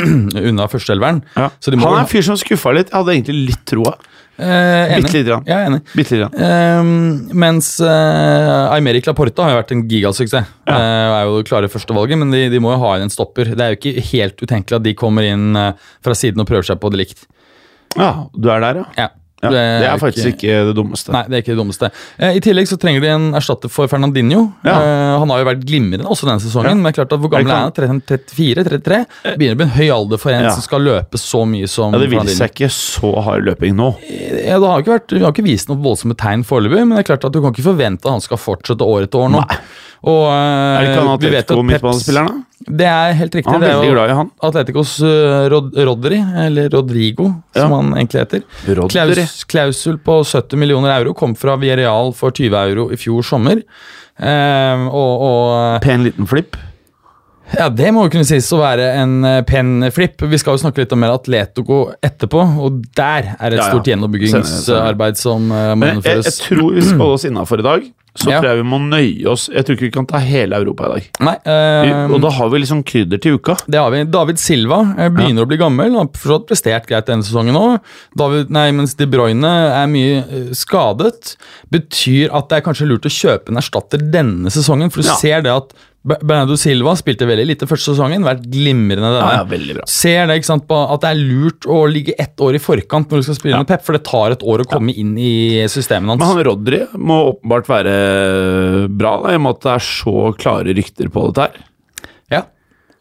Speaker 4: unna førsteelveren.
Speaker 3: ja.
Speaker 4: Så de må
Speaker 3: Han er
Speaker 4: vel-
Speaker 3: en fyr som skuffa litt. Jeg hadde egentlig litt troa.
Speaker 4: Eh, enig.
Speaker 3: Bitte lite grann.
Speaker 4: Jeg er enig.
Speaker 3: Bitte lite grann.
Speaker 4: Ehm, mens eh, Aymeric Laporta har jo vært en gigasuksess.
Speaker 3: Ja.
Speaker 4: Eh, er jo det klare førstevalget, men de, de må jo ha inn en stopper. Det er jo ikke helt utenkelig at de kommer inn eh, fra siden og prøver seg på det likt.
Speaker 3: Ja, du er der, ja.
Speaker 4: Ja,
Speaker 3: ja. Det er,
Speaker 4: jo
Speaker 3: faktisk ikke det dummeste.
Speaker 4: Nei, det er ikke det dummeste. Eh, I tillegg så trenger de en erstatter for Fernandinho.
Speaker 3: Ja.
Speaker 4: Eh, han har jo vært glimrende også denne sesongen,
Speaker 3: Ja.
Speaker 4: men det er klart at hvor gammel er han? 34-33? Begynner å bli en høy alder for en
Speaker 3: Eh. Ja.
Speaker 4: som skal løpe så mye som
Speaker 3: Ja, det vil
Speaker 4: Fernandinho.
Speaker 3: seg ikke så hard løping nå.
Speaker 4: Ja, det har jo ikke, vært, det har ikke vist noen voldsomme tegn foreløpig, men det er klart at du kan ikke forvente at han skal fortsette år etter år nå. Og, eh,
Speaker 3: Er det ikke han
Speaker 4: vi vet
Speaker 3: Atletico
Speaker 4: at Peps-
Speaker 3: midtbanespilleren, da?
Speaker 4: Det er helt riktig.
Speaker 3: Han
Speaker 4: det
Speaker 3: er
Speaker 4: er
Speaker 3: veldig
Speaker 4: jo
Speaker 3: glad i han.
Speaker 4: Atleticos eh, Rod Rodri, eller Rodrigo,
Speaker 3: Ja.
Speaker 4: som han egentlig heter.
Speaker 3: Rodri.
Speaker 4: Klaus klausul på 70 millioner euro kom fra Villarreal for 20 euro i fjor sommer. Eh, og, og
Speaker 3: Pen liten flipp.
Speaker 4: ja, det må jo kunne sies å være en eh, pen flip. Vi skal jo snakke litt om mer Atletico etterpå, og der er et
Speaker 3: Ja, ja.
Speaker 4: stort gjenoppbyggingsarbeid som eh, må
Speaker 3: Men jeg, jeg
Speaker 4: gjennomføres.
Speaker 3: tror vi skal holde oss innafor i dag. Så
Speaker 4: Ja.
Speaker 3: tror jeg vi må nøye oss. Jeg tror ikke vi kan ta hele Europa i dag.
Speaker 4: Nei, eh,
Speaker 3: og da har vi liksom krydder til uka.
Speaker 4: det har vi. David Silva eh, begynner å bli gammel. Han har forstått prestert greit denne sesongen òg. Nei, mens De Bruyne er mye eh, skadet, betyr at det er kanskje lurt å kjøpe en erstatter denne sesongen. For du
Speaker 3: Ja.
Speaker 4: ser det at Be- Bernardo Silva spilte veldig lite første sesongen, vært glimrende denne.
Speaker 3: Ja, ja, veldig bra.
Speaker 4: Ser det ikke sant, på at det er lurt å ligge ett år i forkant når du skal spille med Pep, for det tar et år å komme inn i systemet hans.
Speaker 3: Men han Rodri må åpenbart være bra, da, i og med at det er så klare rykter på dette her.
Speaker 4: ja,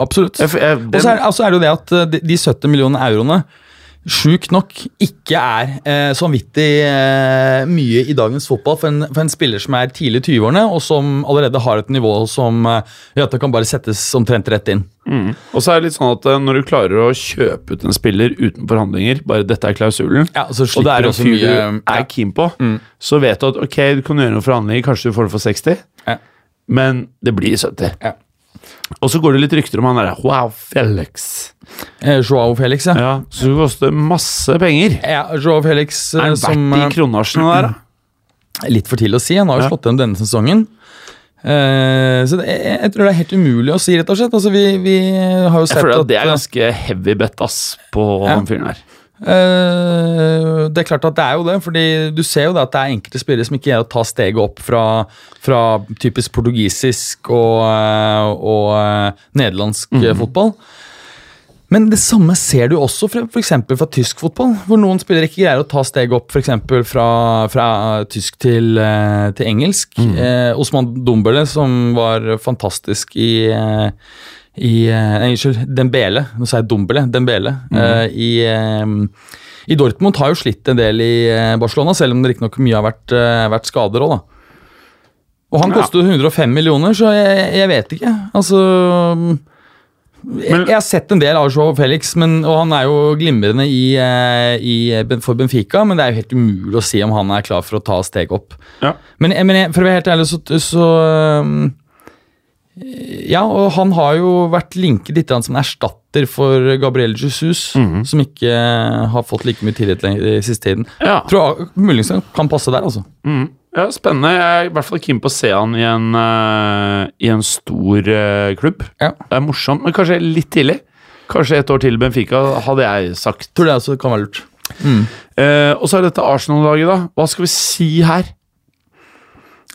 Speaker 4: absolutt.
Speaker 3: Jeg, jeg, den,
Speaker 4: Og så er, altså er det jo det at eh, de, de 70 millionene euroene sjukt nok ikke er eh, så vanvittig eh, mye i dagens fotball for en, for en spiller som er tidlig i 20-årene, og som allerede har et nivå som eh, gjør at det kan bare settes omtrent rett inn.
Speaker 3: og så er det litt sånn at eh, når du klarer å kjøpe ut en spiller uten forhandlinger, bare dette er klausulen,
Speaker 4: Ja, og så
Speaker 3: og det
Speaker 4: slipper
Speaker 3: er
Speaker 4: du
Speaker 3: en
Speaker 4: også
Speaker 3: fyr du
Speaker 4: mye
Speaker 3: er keen på,
Speaker 4: Mm.
Speaker 3: så vet du at ok, du kan gjøre noen forhandlinger, kanskje du får det for 60,
Speaker 4: Ja.
Speaker 3: men det blir 70.
Speaker 4: Ja.
Speaker 3: Og så går det litt rykter om han der Wow, Felix.
Speaker 4: eh, Joao Felix, ja.
Speaker 3: Ja, så det koster masse penger.
Speaker 4: ja Joao Felix eh,
Speaker 3: Er han
Speaker 4: som
Speaker 3: verdt de kronasjene der, da?
Speaker 4: eh, Litt for tidlig å si. Han har jo
Speaker 3: Ja.
Speaker 4: slått igjen denne sesongen. Eh, så det, jeg, jeg tror det er helt umulig å si, rett og slett. Altså, vi, vi har jo sett
Speaker 3: Jeg føler at det
Speaker 4: eh,
Speaker 3: er ganske heavy bet, ass, på
Speaker 4: Ja.
Speaker 3: han fyren her.
Speaker 4: Eh, det er klart at det er jo det, fordi du ser jo det at det er enkelte spillere som ikke greier å ta steget opp fra, fra typisk portugisisk og, eh, og eh, nederlandsk eh, fotball. Men det samme ser du også fra, for eksempel fra tysk fotball, hvor noen spillere ikke greier å ta steget opp for eksempel fra, fra tysk til, eh, til engelsk. Eh, Osman Dombele, som var fantastisk i, eh, i eh, Nei, unnskyld, Dembele. Nå sa jeg Dombele. Dembele. eh, i, eh, I Dortmund har jo slitt en del i eh, Barcelona, selv om det riktignok mye har vært, eh, vært skader òg, da. Og han
Speaker 3: Ja.
Speaker 4: koster jo 105 millioner, så jeg, jeg vet ikke. Altså jeg, jeg har sett en del av Joao Felix, men, og han er jo glimrende i, eh, i, Ben- for Benfica, men det er jo helt umulig å si om han er klar for å ta steg opp.
Speaker 3: Ja.
Speaker 4: Men, jeg- men jeg, for å være helt ærlig, så, så um, Ja, og han har jo vært linket litt grann som en erstatter for Gabriel Jesus,
Speaker 3: Mhm.
Speaker 4: som ikke eh, har fått like mye tillit lenge- i siste tiden.
Speaker 3: Ja.
Speaker 4: Tror jeg muligens han kan passe der, altså.
Speaker 3: ja, spennende. Jeg er i hvert fall keen på å se han i en, eh, i en stor eh, klubb.
Speaker 4: Ja.
Speaker 3: Det er morsomt, men kanskje litt tidlig. Kanskje et år til Benfica, hadde jeg sagt.
Speaker 4: Tror det altså kan være lurt.
Speaker 3: Eh, og så er dette Arsenal-laget, da. Hva skal vi si her?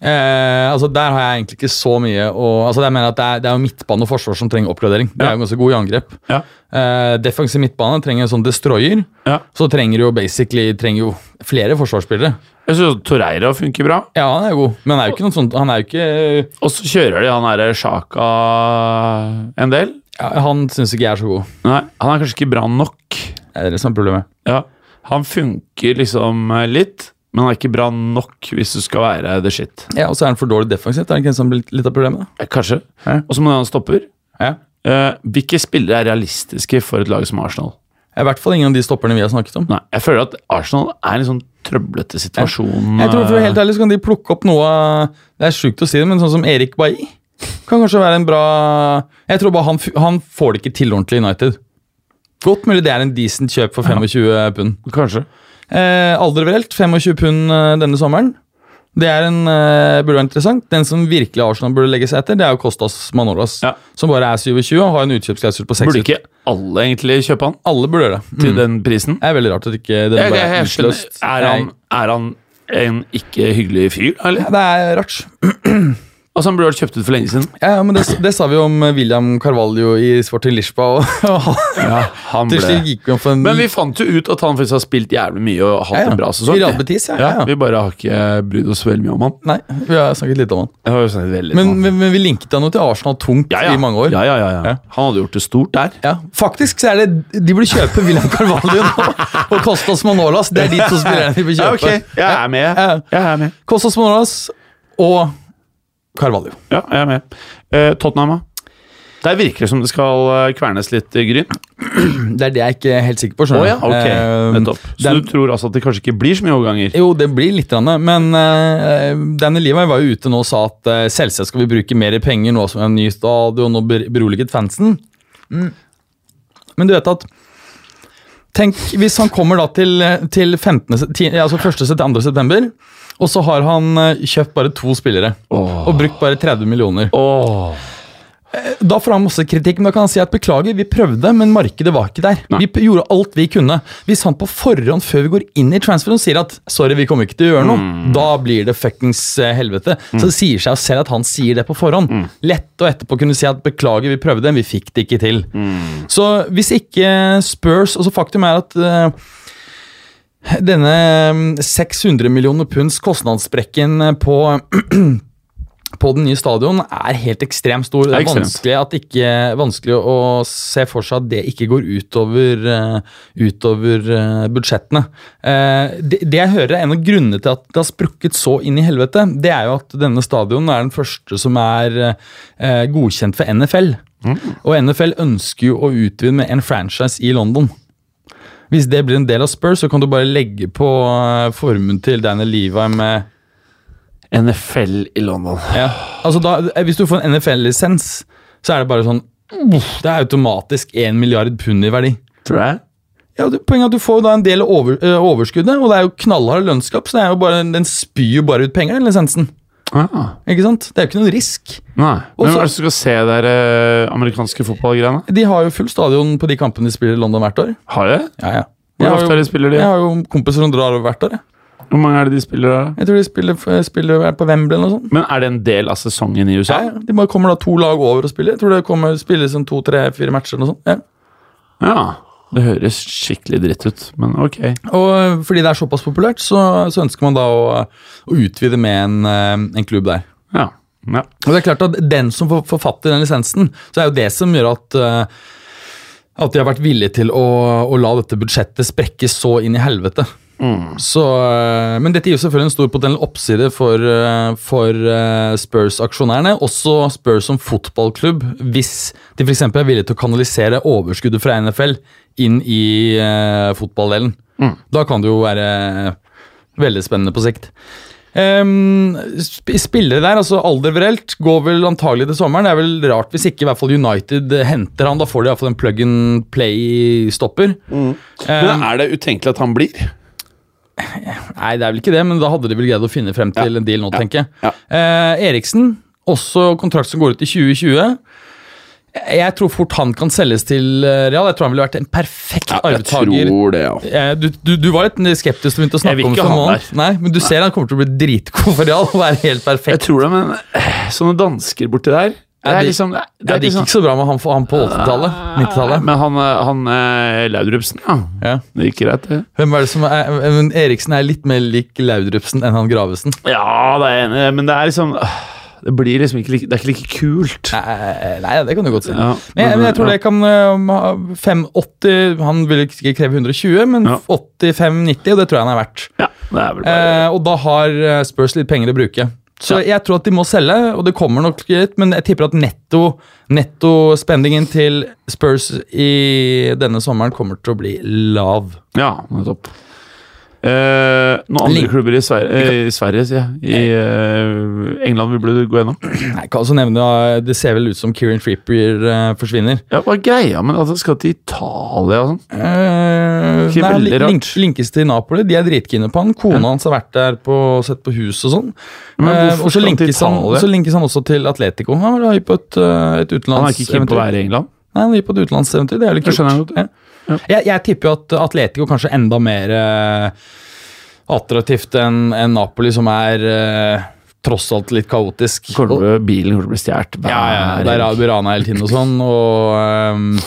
Speaker 4: Eh, altså Der har jeg egentlig ikke så mye å Altså jeg mener at Det er, det er jo midtbane og forsvar som trenger oppgradering. De er jo ganske gode i angrep.
Speaker 3: Ja.
Speaker 4: Eh, defensiv midtbane trenger en sånn destroyer.
Speaker 3: Ja.
Speaker 4: Så trenger jo basically trenger jo flere forsvarsspillere.
Speaker 3: Jeg syns Torreira funker bra.
Speaker 4: Ja, han er jo god, men han er jo ikke noe sånt Han er jo ikke
Speaker 3: Og så kjører de han derre Sjaka en del.
Speaker 4: ja, Han syns ikke jeg er så god.
Speaker 3: Nei, han er kanskje ikke bra nok.
Speaker 4: Det er det som er problemet.
Speaker 3: Ja, han funker liksom eh, litt, men han er ikke bra nok hvis du skal være the shit.
Speaker 4: Ja, Og så er han for dårlig defensivt. Er det ikke det som blir litt- litt av problemet?
Speaker 3: Eh, Kanskje.
Speaker 4: Ja.
Speaker 3: Og så må han stopper.
Speaker 4: da? Ja.
Speaker 3: Eh, hvilke spillere er realistiske for et lag som Arsenal?
Speaker 4: I hvert fall ingen av de stopperne vi har snakket om.
Speaker 3: Nei, jeg føler at Arsenal er i en sånn trøblete situasjon. eh,
Speaker 4: Jeg tror for å være helt ærlig så kan de plukke opp noe av- Det er sjukt å si det, men sånn som Erik Bailly kan kanskje være en bra Jeg tror bare han, f- han får det ikke til ordentlig i United. Godt mulig det er en decent kjøp for 25 pund.
Speaker 3: Kanskje.
Speaker 4: Eh, Alderverelt, 25 pund eh, denne sommeren. Det er en, eh, burde være interessant. Den som virkelig Arsenal burde legge seg etter, det er jo Kostas Manolas.
Speaker 3: Ja.
Speaker 4: Som bare er 27 og har en utkjøpsklausul på 6
Speaker 3: Burde ikke alle egentlig kjøpe han
Speaker 4: Alle burde gjøre det.
Speaker 3: til den prisen?
Speaker 4: Mm. Det er veldig rart at ikke den
Speaker 3: Jeg,
Speaker 4: bare
Speaker 3: jeg,
Speaker 4: er
Speaker 3: jeg skjønner.
Speaker 4: utløst.
Speaker 3: Er han, er han en ikke hyggelig fyr, eller?
Speaker 4: Nei, Det er rart.
Speaker 3: Altså, han burde vært kjøpt ut for lenge siden.
Speaker 4: Ja, ja, men det, det sa vi jo om eh, William Carvalho i Sporting Lisboa. og- Og han
Speaker 3: han
Speaker 4: til slutt
Speaker 3: ble...
Speaker 4: gikk jo for en
Speaker 3: Men vi fant jo ut at han faktisk har spilt jævlig mye og hatt
Speaker 4: Ja, ja.
Speaker 3: en bra sesong.
Speaker 4: I Real Betis, ja, ja, ja.
Speaker 3: Vi bare har ikke brydd oss veldig mye om han.
Speaker 4: Nei, vi har snakket litt om han.
Speaker 3: Jeg har jo snakket veldig
Speaker 4: Men, men, men vi linket han jo til Arsenal tungt
Speaker 3: ja, ja.
Speaker 4: i mange år.
Speaker 3: Ja, ja, ja, ja.
Speaker 4: Ja.
Speaker 3: Han hadde gjort det stort der.
Speaker 4: Ja, faktisk så er det De burde kjøpe William Carvalho nå, og Kostas Manolas. Det er de to spillerne de bør kjøpe.
Speaker 3: Jeg er med.
Speaker 4: Ja.
Speaker 3: Jeg er med.
Speaker 4: Kostas Manolas og Carvalho.
Speaker 3: Ja, jeg er med. Eh, Tottenham, da? Der virker det som det skal eh, kvernes litt eh, gryn.
Speaker 4: Det er det jeg ikke er helt sikker på.
Speaker 3: Å
Speaker 4: skjønner
Speaker 3: ja,
Speaker 4: du.
Speaker 3: ok.
Speaker 4: Eh,
Speaker 3: Nettopp. Så
Speaker 4: Dan-
Speaker 3: du tror altså at det kanskje ikke blir så mye overganger?
Speaker 4: jo, det blir litt, grann, men uh, Danny Levi var jo ute nå og sa at eh, selvsagt skal vi bruke mer penger nå som vi har en ny stadion og ber- beroliget fansen. Men du vet at Tenk hvis han kommer da til, til 15, se- ti- altså 1. til 2. september, og så har han eh, kjøpt bare to spillere
Speaker 3: Åh.
Speaker 4: og brukt bare 30 millioner.
Speaker 3: Åh.
Speaker 4: Da får han masse kritikk, men da kan han si at beklager, vi prøvde, men markedet var ikke der. Vi p- gjorde alt vi kunne. Hvis han på forhånd, før vi går inn i transferen, sier at sorry, vi kommer ikke til å gjøre noe, da blir det fuckings eh, helvete. Så det sier seg jo selv at han sier det på forhånd. Lett å etterpå kunne si at beklager, vi prøvde, men vi fikk det ikke til. Så hvis ikke Spurs Og så faktum er at eh, denne eh, 600 millioner punds kostnadssprekken eh, på på den nye stadion er helt ekstremt stor. Det
Speaker 3: Det
Speaker 4: er,
Speaker 3: er ekstremt.
Speaker 4: vanskelig, at ikke, vanskelig å se for seg at det ikke går utover, eh, utover eh, budsjettene. Eh, det, det jeg hører er en av grunnene til at det har sprukket så inn i helvete, det er jo at denne stadion er den første som er eh, godkjent for NFL. Og NFL ønsker jo å utvide med en franchise i London. Hvis det blir en del av Spurs, så kan du bare legge på eh, formuen til Daniel Levi med
Speaker 3: NFL i London.
Speaker 4: ja. Altså da, hvis du får en NFL-lisens, så er det bare sånn uff, Det er automatisk 1 milliard pund i verdi.
Speaker 3: Tror jeg.
Speaker 4: Ja, det, poenget er at Du får jo da en del av over, eh, overskuddet, og det er jo knallhard lønnskap, så det er jo bare, den spyr jo bare ut penger, den lisensen.
Speaker 3: Ah.
Speaker 4: Ikke sant? Det er jo ikke noen risk.
Speaker 3: Nei.
Speaker 4: Og
Speaker 3: Hvem
Speaker 4: så-
Speaker 3: er det som skal se de amerikanske fotballgreiene?
Speaker 4: De har jo full stadion på de kampene de spiller i London hvert år.
Speaker 3: Har jeg?
Speaker 4: Ja, ja.
Speaker 3: Hvor
Speaker 4: Jeg har
Speaker 3: ofte
Speaker 4: jo-
Speaker 3: er det spiller de?
Speaker 4: Jeg har jo kompiser som drar over hvert år. Jeg,
Speaker 3: Hvor mange er det de spiller der? da?
Speaker 4: jeg tror de spiller, spiller på Wembley eller noe sånt.
Speaker 3: Men er det en del av sesongen i USA?
Speaker 4: Ja, ja. De bare kommer da to lag over og spiller. Jeg tror det kommer spilles sånn en to-tre-fire matcher eller noe sånt. Ja.
Speaker 3: Ja. Det høres skikkelig dritt ut, men ok.
Speaker 4: Og eh, fordi det er såpass populært, så, så ønsker man da å, å utvide med en, eh, en klubb der.
Speaker 3: Ja. ja.
Speaker 4: Og det er klart at Den som for- forfatter den lisensen, så er jo det som gjør at eh, at de har vært villige til å, å la dette budsjettet sprekke så inn i helvete. Så, eh, men dette gir jo selvfølgelig en stor potensiell oppside for, eh, for eh, Spurs-aksjonærene. Også Spurs som fotballklubb, hvis de f.eks. er villige til å kanalisere overskuddet fra NFL inn i eh, fotballdelen. Da kan det jo være eh, veldig spennende på sikt. Ehm, sp spillere der, altså alderverelt, går vel antagelig til sommeren. Det er vel rart hvis ikke i hvert fall United eh, henter han. Da får de iallfall en plug and play-stopper.
Speaker 3: Men er det utenkelig at han blir?
Speaker 4: Nei, det er vel ikke det, men da hadde de vel greid å finne frem til en deal nå, tenker jeg.
Speaker 3: ja.
Speaker 4: Eh, Eriksen, også kontrakt som går ut i 2020. Jeg tror fort han kan selges til eh, Real. Jeg tror han ville vært en perfekt arvtaker.
Speaker 3: det, ja.
Speaker 4: Eh, Du, du, du var litt skeptisk til å begynne å
Speaker 3: Jeg vil
Speaker 4: snakke om
Speaker 3: ikke
Speaker 4: det
Speaker 3: ha
Speaker 4: for en
Speaker 3: han
Speaker 4: måned.
Speaker 3: der.
Speaker 4: Nei, men du ser han kommer til å bli dritgod for Real og være helt perfekt.
Speaker 3: Jeg tror det, men eh, sånne dansker borti der Det
Speaker 4: Ja,
Speaker 3: er
Speaker 4: de-
Speaker 3: liksom Det,
Speaker 4: Ja, det gikk ikke så bra med han, han på 80-tallet. 90-tallet.
Speaker 3: Men han, eh, han eh, Laudrupsen, ja.
Speaker 4: Ja.
Speaker 3: Det gikk greit, det.
Speaker 4: Hvem er det som er, eh, men Eriksen er litt mer lik Laudrupsen enn han Gravesen.
Speaker 3: Ja, det er jeg enig, i, men det er liksom øh, Det blir liksom ikke like, Det er ikke like kult.
Speaker 4: Nei, nei, det kan du godt si.
Speaker 3: Ja,
Speaker 4: men, jeg, men jeg tror
Speaker 3: ja.
Speaker 4: det kan øhm, ha 580 Han vil ikke kreve 120, men
Speaker 3: Ja.
Speaker 4: 85-90, og det tror jeg han er verdt.
Speaker 3: Ja, det er vel bare
Speaker 4: Eh, og da har eh, Spurs litt penger å bruke. Så jeg tror at de må selge, og det kommer nok litt, men jeg tipper at netto nettospendingen til Spurs i denne sommeren kommer til å bli lav.
Speaker 3: Ja, nettopp. Eh, noen andre
Speaker 4: Link-
Speaker 3: klubber i Sverige, eh, i Sverige sier jeg. I eh, England vil du gå gjennom.
Speaker 4: Jeg kan også nevne, eh, Det ser vel ut som Kieran Trippier eh, forsvinner.
Speaker 3: Ja, Hva er greia med at det Altså, skal til Italia og sånn?
Speaker 4: Eh,
Speaker 3: Ikke
Speaker 4: nei,
Speaker 3: veldig rart.
Speaker 4: link, linkes til Napoli. De er dritkine på han. Kona hans har vært der på, sett på hus og sånn.
Speaker 3: Men
Speaker 4: Eh,
Speaker 3: hvorfor
Speaker 4: og så
Speaker 3: skal han til
Speaker 4: linkes, han,
Speaker 3: Italia?
Speaker 4: så linkes han også til Atletico. Han var hypp på et, eh, et
Speaker 3: Han er ikke keen på å
Speaker 4: utenlandseventyr.
Speaker 3: være i England.
Speaker 4: Nei, han gir på et utenlandseventyr. Det er litt
Speaker 3: Det
Speaker 4: kult.
Speaker 3: skjønner jeg godt, ja.
Speaker 4: Ja. Jeg, jeg tipper jo at Atletico kanskje er enda mer eh, attraktivt enn enn Napoli, som er eh, tross alt litt kaotisk.
Speaker 3: Kommer til å bli- bilen kommer til å bli stjålet hver
Speaker 4: ja, ja, der er
Speaker 3: helg.
Speaker 4: jo Burana hele tiden og sånn, og ehm,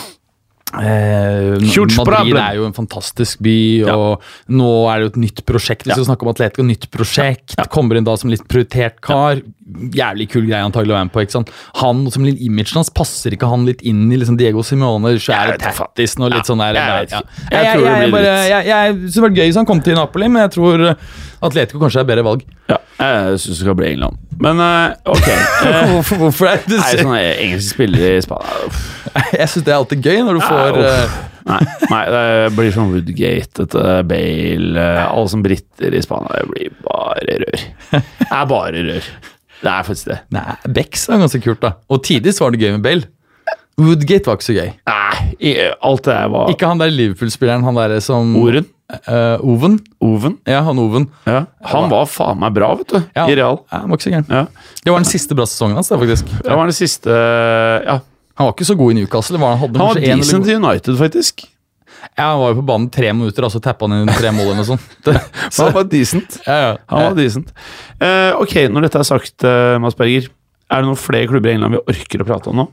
Speaker 4: eh,
Speaker 3: Huge
Speaker 4: Madrid
Speaker 3: problem.
Speaker 4: er jo en fantastisk by, og nå er det jo et nytt prosjekt. Vi skal snakke om Atletico, nytt prosjekt. Kommer inn da som litt prioritert kar. Jævlig kul greie antagelig å være med på. ikke sant? Han som litt imagen hans, passer ikke han litt inn i liksom Diego Simone, svære tattisen og litt sånn der?
Speaker 3: jeg vet
Speaker 4: Ja.
Speaker 3: ikke. Jeg
Speaker 4: Jeg-
Speaker 3: tror det
Speaker 4: jeg-
Speaker 3: blir
Speaker 4: jeg bare-
Speaker 3: litt-
Speaker 4: jeg- jeg synes det hadde vært gøy hvis han kom til Napoli, men jeg tror eh, Atletico kanskje er et bedre valg.
Speaker 3: Ja, jeg syns det skal bli England. Men eh, ok. Eh,
Speaker 4: Hvorfor, hvorfor er det du
Speaker 3: Nei, sånn,
Speaker 4: sier-
Speaker 3: sånne engelske spillere i Spania uff.
Speaker 4: Jeg syns det er alltid gøy når du får
Speaker 3: uff.
Speaker 4: eh,
Speaker 3: Nei, nei, det blir sånn Woodgate, dette Bale eh, Alle som briter i Spania, det blir bare rør. Det er bare rør. Det er faktisk det.
Speaker 4: Nei, Becks er ganske kult, da. Og tidligst var det gøy med Bale. Woodgate var ikke så gøy.
Speaker 3: Nei, i- alt det der var
Speaker 4: Ikke han der Liverpool-spilleren, han derre som
Speaker 3: Oren.
Speaker 4: Eh, Oven.
Speaker 3: Oven.
Speaker 4: Ja, han Oven.
Speaker 3: Ja. Han var faen meg bra, vet du.
Speaker 4: Ja.
Speaker 3: I real.
Speaker 4: Ja, han var ikke så gæren.
Speaker 3: Ja.
Speaker 4: Det var den siste bra sesongen hans, da, faktisk.
Speaker 3: Det var den siste Ja.
Speaker 4: Han var ikke så god i Newcastle. Var han, hadde
Speaker 3: Han var
Speaker 4: kanskje en eller
Speaker 3: decent
Speaker 4: god-
Speaker 3: i United, faktisk.
Speaker 4: ja, han var jo på banen tre minutter, og så tappa han inn tre mål eller noe sånt. Det, så,
Speaker 3: Han var decent.
Speaker 4: ja, ja.
Speaker 3: Han var decent. Eh, ok, når dette er sagt, uh, Mads Berger, er det noen flere klubber i England vi orker å prate om nå?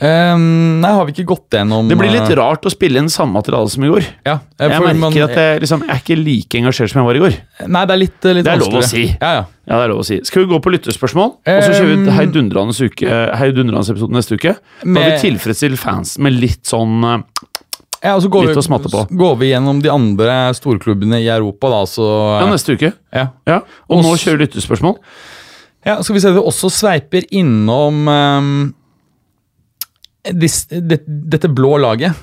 Speaker 4: Eh, nei, har vi ikke gått gjennom
Speaker 3: Det blir litt
Speaker 4: eh,
Speaker 3: rart å spille inn samme materiale som i går.
Speaker 4: Ja, eh,
Speaker 3: Jeg
Speaker 4: for
Speaker 3: merker
Speaker 4: man-
Speaker 3: at jeg, liksom, jeg er ikke like engasjert som jeg var i går.
Speaker 4: Nei, det er litt, eh, litt
Speaker 3: Det er lov å
Speaker 4: vanskeligere.
Speaker 3: si.
Speaker 4: Ja, ja.
Speaker 3: Ja, det er lov å si. Skal vi gå på lytterspørsmål? Og så kjører vi et
Speaker 4: Um,
Speaker 3: heidundrende uke- eh, heidundrende episode neste uke. Da har
Speaker 4: Med-
Speaker 3: vi tilfredsstilt fansen med litt sånn eh,
Speaker 4: ja og så går
Speaker 3: Litt
Speaker 4: vi,
Speaker 3: å smatte på.
Speaker 4: Går vi gjennom de andre storklubbene i Europa, da, så
Speaker 3: Ja, neste uke.
Speaker 4: ja.
Speaker 3: Ja. Og nå
Speaker 4: Oss-
Speaker 3: kjører lytterspørsmål.
Speaker 4: Ja, skal vi se, vi også sveiper innom ehm, dis, det, dette blå laget.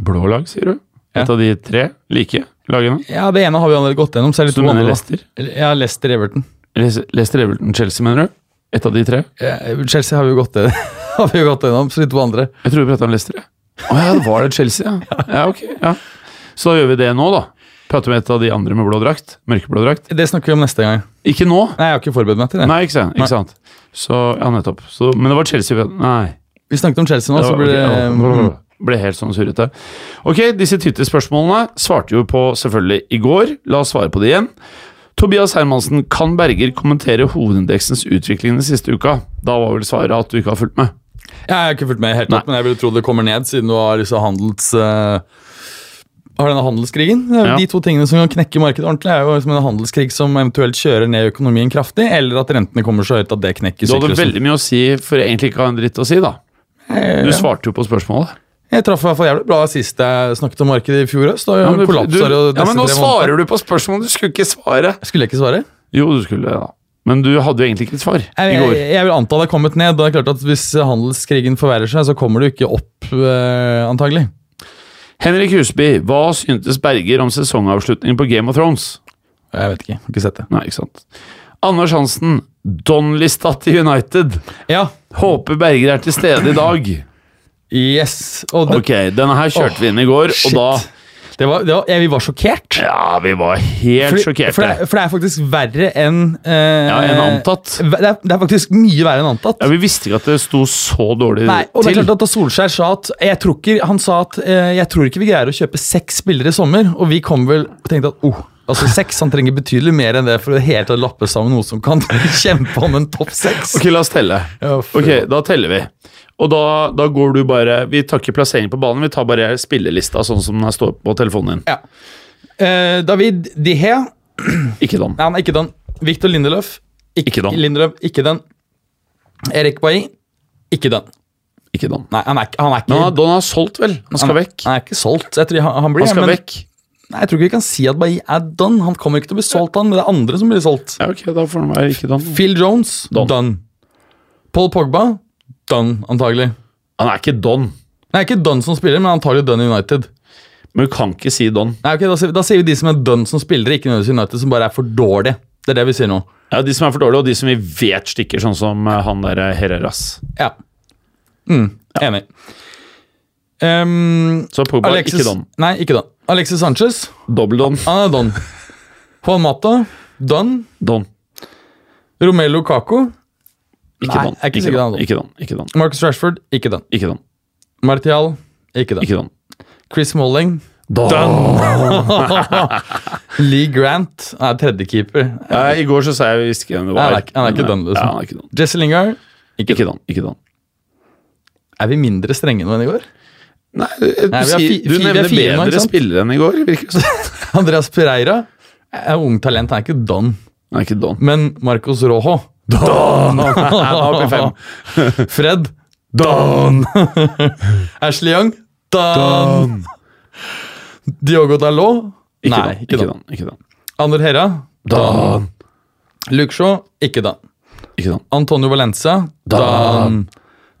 Speaker 3: Blå lag, sier du?
Speaker 4: Ja.
Speaker 3: Et av de tre like lagene?
Speaker 4: Ja, Det ene har vi allerede gått gjennom. Så er det
Speaker 3: Så
Speaker 4: to
Speaker 3: du
Speaker 4: andre.
Speaker 3: mener
Speaker 4: da.
Speaker 3: Leicester?
Speaker 4: Ja, Leicester Everton.
Speaker 3: Les- Leicester, Everton, Chelsea, mener du? Et av de tre?
Speaker 4: Eh, Chelsea har vi jo gått, gjennom- har vi jo gått gjennom, så de to andre.
Speaker 3: Jeg tror vi prata om Leicester. jeg. Å ja, det var det Chelsea, ja. ja, ok, ja. Så da gjør vi det nå, da. Prater med et av de andre med blå drakt. Mørkeblå drakt.
Speaker 4: Det snakker vi om neste gang.
Speaker 3: Ikke nå!
Speaker 4: Nei, jeg har ikke forberedt meg til det.
Speaker 3: Nei, ikke sant.
Speaker 4: Nei.
Speaker 3: Ikke sant. Så, ja, nettopp. Så, men det var Chelsea vi Nei.
Speaker 4: Vi snakket om Chelsea nå, så blir det
Speaker 3: ok, ja. Mm, Ble helt sånn surrete. Ok, disse Twitter-spørsmålene svarte jo på selvfølgelig i går. La oss svare på det igjen. Tobias Hermansen, kan Berger kommentere hovedindeksens utvikling den siste uka? Da var vel svaret at du ikke har fulgt med.
Speaker 4: Jeg har ikke fulgt med helt
Speaker 3: Nei.
Speaker 4: opp, men jeg ville tro det kommer ned, siden du har disse handels... eh, har denne handelskrigen. Det er jo
Speaker 3: Ja.
Speaker 4: De to tingene som kan knekke markedet ordentlig, er jo liksom en handelskrig som eventuelt kjører ned økonomien kraftig, eller at rentene kommer så høyt at det knekker
Speaker 3: Du hadde
Speaker 4: syklusen.
Speaker 3: veldig mye å si for egentlig ikke å ha en dritt å si, da.
Speaker 4: Eh,
Speaker 3: Du svarte jo på spørsmålet.
Speaker 4: Jeg traff i hvert fall jævlig bra sist jeg snakket om markedet i fjor høst. Da ja,
Speaker 3: du,
Speaker 4: kollapsa det jo
Speaker 3: ja, men nå
Speaker 4: tre måneder.
Speaker 3: svarer du på spørsmålet, du skulle ikke svare.
Speaker 4: Skulle jeg ikke svare?
Speaker 3: Jo, du skulle det, da. Men du hadde jo egentlig ikke et svar
Speaker 4: Jeg,
Speaker 3: i
Speaker 4: jeg,
Speaker 3: går.
Speaker 4: jeg vil anta det er kommet ned. Da er det klart at Hvis handelskrigen forverrer seg, så kommer det jo ikke opp, eh, antagelig.
Speaker 3: Henrik Husby, hva syntes Berger om sesongavslutningen på Game of Thrones?
Speaker 4: Jeg vet ikke. Har ikke sett det.
Speaker 3: Nei, ikke sant. Anders Hansen, Donlystad til United.
Speaker 4: Ja.
Speaker 3: Håper Berger er til stede i dag.
Speaker 4: Yes. Og det,
Speaker 3: Ok, denne her kjørte vi inn i går,
Speaker 4: shit.
Speaker 3: og da
Speaker 4: det var, det var, jeg, vi var sjokkert.
Speaker 3: Ja, vi var helt
Speaker 4: Fordi- For, det
Speaker 3: sjokkerte.
Speaker 4: er- for det er faktisk verre enn eh,
Speaker 3: Ja, enn antatt.
Speaker 4: Det er, det er faktisk mye verre enn antatt.
Speaker 3: Ja, vi visste ikke at det sto så dårlig
Speaker 4: Nei, og det er
Speaker 3: til.
Speaker 4: klart at da Solskjær sa at jeg tror ikke, Han sa at eh, jeg tror ikke vi greier å kjøpe seks spillere i sommer, og vi kom vel og tenkte at oh, altså seks Han trenger betydelig mer enn det for å helt lappe sammen noe som kan kjempe om en topp seks.
Speaker 3: Ok, la oss telle.
Speaker 4: Ja, for-
Speaker 3: Ok, da teller vi. Og da, da går du bare Vi tar ikke plassering på banen, vi tar bare spillelista sånn som den her står på telefonen din.
Speaker 4: Ja. Eh, David Dihe Nei,
Speaker 3: Ikke den.
Speaker 4: han er ikke den. Victor Lindeløf.
Speaker 3: Ikke den.
Speaker 4: Lindeløf, ikke den. Erik Bailly. Ikke den.
Speaker 3: Ikke den.
Speaker 4: Nei, han er, ikke- han er ikke
Speaker 3: Men han, den har solgt, vel? Han skal vekk.
Speaker 4: Han er ikke solgt. Jeg tror han, han blir
Speaker 3: Han skal
Speaker 4: men-
Speaker 3: vekk.
Speaker 4: Nei, Jeg tror ikke vi kan si at Bailly er done. Han kommer ikke til å bli solgt, han, men det er andre som blir solgt.
Speaker 3: Ja, ok, da får han være ikke done.
Speaker 4: Phil Jones
Speaker 3: Done.
Speaker 4: done. Paul Pogba done, antagelig.
Speaker 3: Han er ikke don,
Speaker 4: Nei, ikke done som spiller, men antagelig done i United.
Speaker 3: men du kan ikke si don.
Speaker 4: Nei, ok, Da sier, vi- da sier vi de som er done som spillere, ikke nødvendigvis United, som bare er for dårlige. Det er det vi sier nå.
Speaker 3: Ja, De som er for dårlige, og de som vi vet stikker, sånn som eh, han der eh, Herreras.
Speaker 4: Ja. Mm, Enig. Ehm,
Speaker 3: Så Pogba er
Speaker 4: Alexis,
Speaker 3: ikke don.
Speaker 4: Nei, ikke don. Alexis Sanchez,
Speaker 3: Dobbel don.
Speaker 4: han er don. Juan Mata, don.
Speaker 3: Don.
Speaker 4: Romelu Kako,
Speaker 3: Ikke
Speaker 4: Nei,
Speaker 3: don.
Speaker 4: jeg er ikke
Speaker 3: Ikke
Speaker 4: sikker
Speaker 3: don.
Speaker 4: han er don.
Speaker 3: Ikke don. Ikke don.
Speaker 4: Marcus Rashford, ikke don.
Speaker 3: Ikke don.
Speaker 4: Martial, ikke don.
Speaker 3: Ikke don.
Speaker 4: Chris Molling, Lee Grant er tredjekeeper.
Speaker 3: Ja, I går så sa jeg visst ikke hvem det var.
Speaker 4: Han er ikke- han er ikke don, liksom.
Speaker 3: Ja, han er ikke don.
Speaker 4: Jesse Lingard, ikke,
Speaker 3: Ikke don. Ikke don.
Speaker 4: Er vi mindre strenge nå enn i går?
Speaker 3: Nei, du,
Speaker 4: Nei, vi er
Speaker 3: sier-
Speaker 4: fi-
Speaker 3: du
Speaker 4: fi- vi er
Speaker 3: nevner
Speaker 4: fire nå, ikke
Speaker 3: bedre
Speaker 4: sant?
Speaker 3: spillere enn i går, virker det som.
Speaker 4: Andreas Pereira er ung talent, han er ikke don.
Speaker 3: Han er ikke don.
Speaker 4: Men Marcos Rojo Don! Fred Don! Ashley Young Don! Diogo Dalot
Speaker 3: Ikke don.
Speaker 4: Nei, ikke
Speaker 3: Ikke
Speaker 4: Don.
Speaker 3: don. Ikke don.
Speaker 4: Ander Herra
Speaker 3: Don.
Speaker 4: Luke Shaw Ikke Don.
Speaker 3: Ikke don.
Speaker 4: Antonio Valencia Don.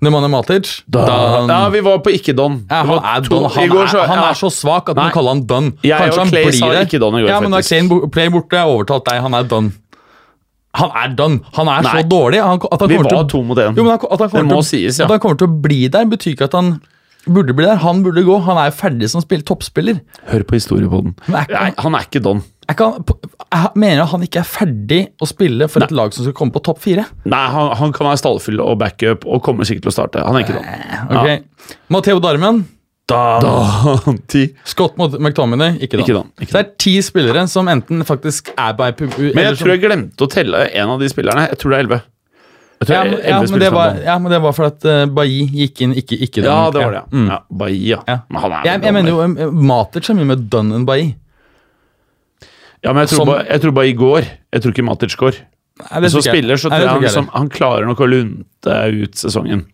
Speaker 4: Nemanja Matic
Speaker 3: Don. Ja, vi var på ikke don.
Speaker 4: Ja,
Speaker 3: Det
Speaker 4: han,
Speaker 3: var
Speaker 4: er
Speaker 3: to-
Speaker 4: don.
Speaker 3: i
Speaker 4: Han,
Speaker 3: går
Speaker 4: er, han
Speaker 3: ja.
Speaker 4: er så svak at man
Speaker 3: Nei.
Speaker 4: kaller han Don.
Speaker 3: Jeg og Clay sa ikke Don i går,
Speaker 4: Ja, men da er
Speaker 3: faktisk.
Speaker 4: Clay bo- Clay borte, jeg overtatt deg. Han er Don. Han er Don. Han er
Speaker 3: Nei.
Speaker 4: så dårlig. Han, at han
Speaker 3: Vi
Speaker 4: kommer til
Speaker 3: var
Speaker 4: å-
Speaker 3: to mot én.
Speaker 4: Jo, men han, at han
Speaker 3: Det
Speaker 4: kommer
Speaker 3: må
Speaker 4: til, å-
Speaker 3: sies, ja.
Speaker 4: At han kommer til å bli der, betyr ikke at han burde bli der. Han burde gå. Han er jo ferdig som spill, toppspiller.
Speaker 3: Hør på historiepodden.
Speaker 4: Men er ikke-
Speaker 3: Nei, han er ikke don.
Speaker 4: Jeg, kan, jeg mener at han ikke er ferdig å spille for et lag som skal komme på topp fire.
Speaker 3: Nei, han, han kan være stallfyll og backup og kommer sikkert til å starte. Han er ikke don.
Speaker 4: Ok. Matteo Darmian,
Speaker 3: Don. Ti.
Speaker 4: Scott mot McTominay, ikke da.
Speaker 3: Ikke da, ikke
Speaker 4: Så det er ti spillere som enten faktisk er på ei pub...
Speaker 3: Men jeg tror jeg
Speaker 4: sånn-
Speaker 3: glemte å telle en av de spillerne. Jeg tror det er elleve. Jeg tror
Speaker 4: ja,
Speaker 3: det er
Speaker 4: men,
Speaker 3: 11
Speaker 4: ja, men det
Speaker 3: spillere som
Speaker 4: var,
Speaker 3: er don.
Speaker 4: ja, men det var fordi at eh, Bailly gikk inn, ikke, ikke
Speaker 3: Ja,
Speaker 4: Dunn.
Speaker 3: det var det. ja.
Speaker 4: Mm.
Speaker 3: Ja, Bahia.
Speaker 4: Ja.
Speaker 3: Men han er
Speaker 4: Jeg, jeg mener jo eh, Matic er mye mer Dunn enn Bailly.
Speaker 3: Ja, men jeg tror,
Speaker 4: Som-
Speaker 3: bare, jeg tror bare i går. Jeg tror ikke Matic går.
Speaker 4: Nei, det
Speaker 3: Så
Speaker 4: tror ikke jeg.
Speaker 3: spiller, så
Speaker 4: Nei,
Speaker 3: tror
Speaker 4: det
Speaker 3: jeg han,
Speaker 4: ikke
Speaker 3: liksom,
Speaker 4: heller.
Speaker 3: han klarer nok å lunte ut sesongen.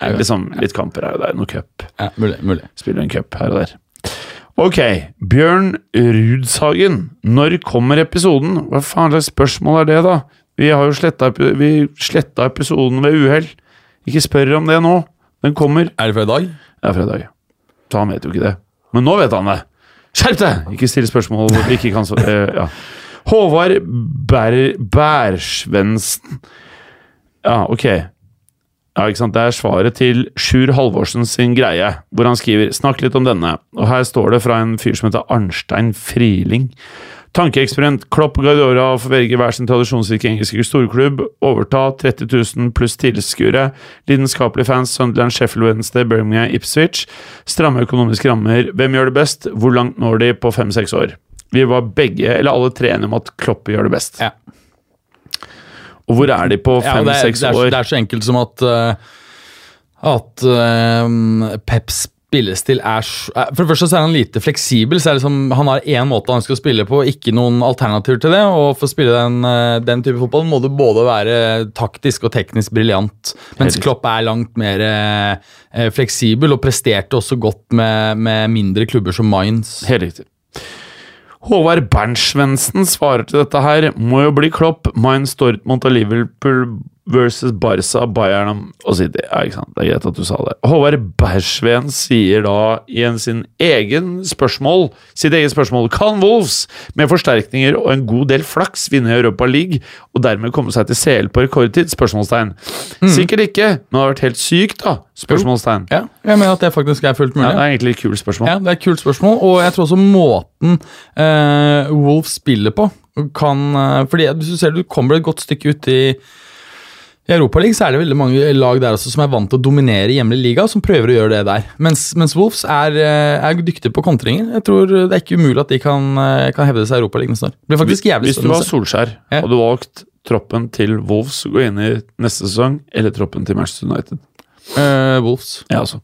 Speaker 3: Eh, Liksom, litt kamper her og der, noe cup.
Speaker 4: ja, Mulig. mulig.
Speaker 3: Spiller en cup her og der. Ok, Bjørn Rudshagen. Når kommer episoden? Hva faen slags spørsmål er det, da? Vi har jo sletta, epi- vi sletta episoden ved uhell. Ikke spør om det nå. Den kommer.
Speaker 4: Er det fra i dag?
Speaker 3: Det er fredag. Så han vet jo ikke det. Men nå vet han det. Skjerp deg! Ikke still spørsmål du ikke kan svare ja. Håvard Bær Bærsvensen. Ja, ok. Ja, ikke sant? Det er svaret til Sjur Halvorsen sin greie, hvor han skriver 'Snakk litt om denne'. Og her står det fra en fyr som heter Arnstein Friling. Tankeeksperiment. Klopp og Guardiola får velge hver sin tradisjonsrike engelske storklubb. Overta 30 000 pluss tilskuere. Lidenskapelige fans Sunderland, Sheffield Wednesday, Birmingham, Ipswich. Stramme økonomiske rammer. Hvem gjør det best? Hvor langt når de på fem-seks år? Vi var begge, eller alle tre, enige om at Klopp gjør det best.
Speaker 4: Ja.
Speaker 3: Og hvor er de på
Speaker 4: Ja, og det, er,
Speaker 3: fem-seks
Speaker 4: det, er,
Speaker 3: år?
Speaker 4: det er så enkelt som at eh, At eh, Peps spillestil er s- eh, For det første så er han lite fleksibel. så er det som, Han har én måte han skal spille på, ikke noen alternativer til det. Og for å spille den, eh, den type fotball må du både være taktisk og teknisk briljant.
Speaker 3: Helt
Speaker 4: Mens
Speaker 3: riktig.
Speaker 4: Klopp er langt mer eh, eh, fleksibel og presterte også godt med, med mindre klubber som Mines.
Speaker 3: Helt riktig. Håvard Bernsvensen svarer til dette her. Må jo bli Klopp, Mainz, Dortmund og Liverpool versus Barca, Bayern og City. Ja, ikke sant? Det er greit at du sa det. Håvard Bersveen sier da i en sin egen spørsmål, sitt eget spørsmål Kan Wolves med forsterkninger og en god del flaks vinne Europa League og dermed komme seg til CL på rekordtid? Spørsmålstegn. Sikkert ikke, men det har vært helt sykt, da? Spørsmålstegn.
Speaker 4: Ja, jeg mener at det faktisk er fullt mulig.
Speaker 3: Ja, det er egentlig et kult spørsmål.
Speaker 4: Ja, Det er et kult spørsmål, og jeg tror også måten eh, Wolf spiller på kan eh, Fordi hvis du ser du kommer et godt stykke ut i i Europaligaen så er det veldig mange lag der også som er vant til å dominere hjemlig liga, og som prøver å gjøre det der. Mens, mens Wolves er, eh, er dyktige på kontringer. Jeg tror Det er ikke umulig at de kan, eh, kan hevde seg i Europaligaen snart. Det blir faktisk jævlig
Speaker 3: Hvis du
Speaker 4: spennende.
Speaker 3: var
Speaker 4: å se.
Speaker 3: Solskjær,
Speaker 4: Ja.
Speaker 3: hadde du valgt troppen til Wolves å gå inn i neste sesong, eller troppen til Manchester United?
Speaker 4: Eh, Wolves.
Speaker 3: Ja, altså.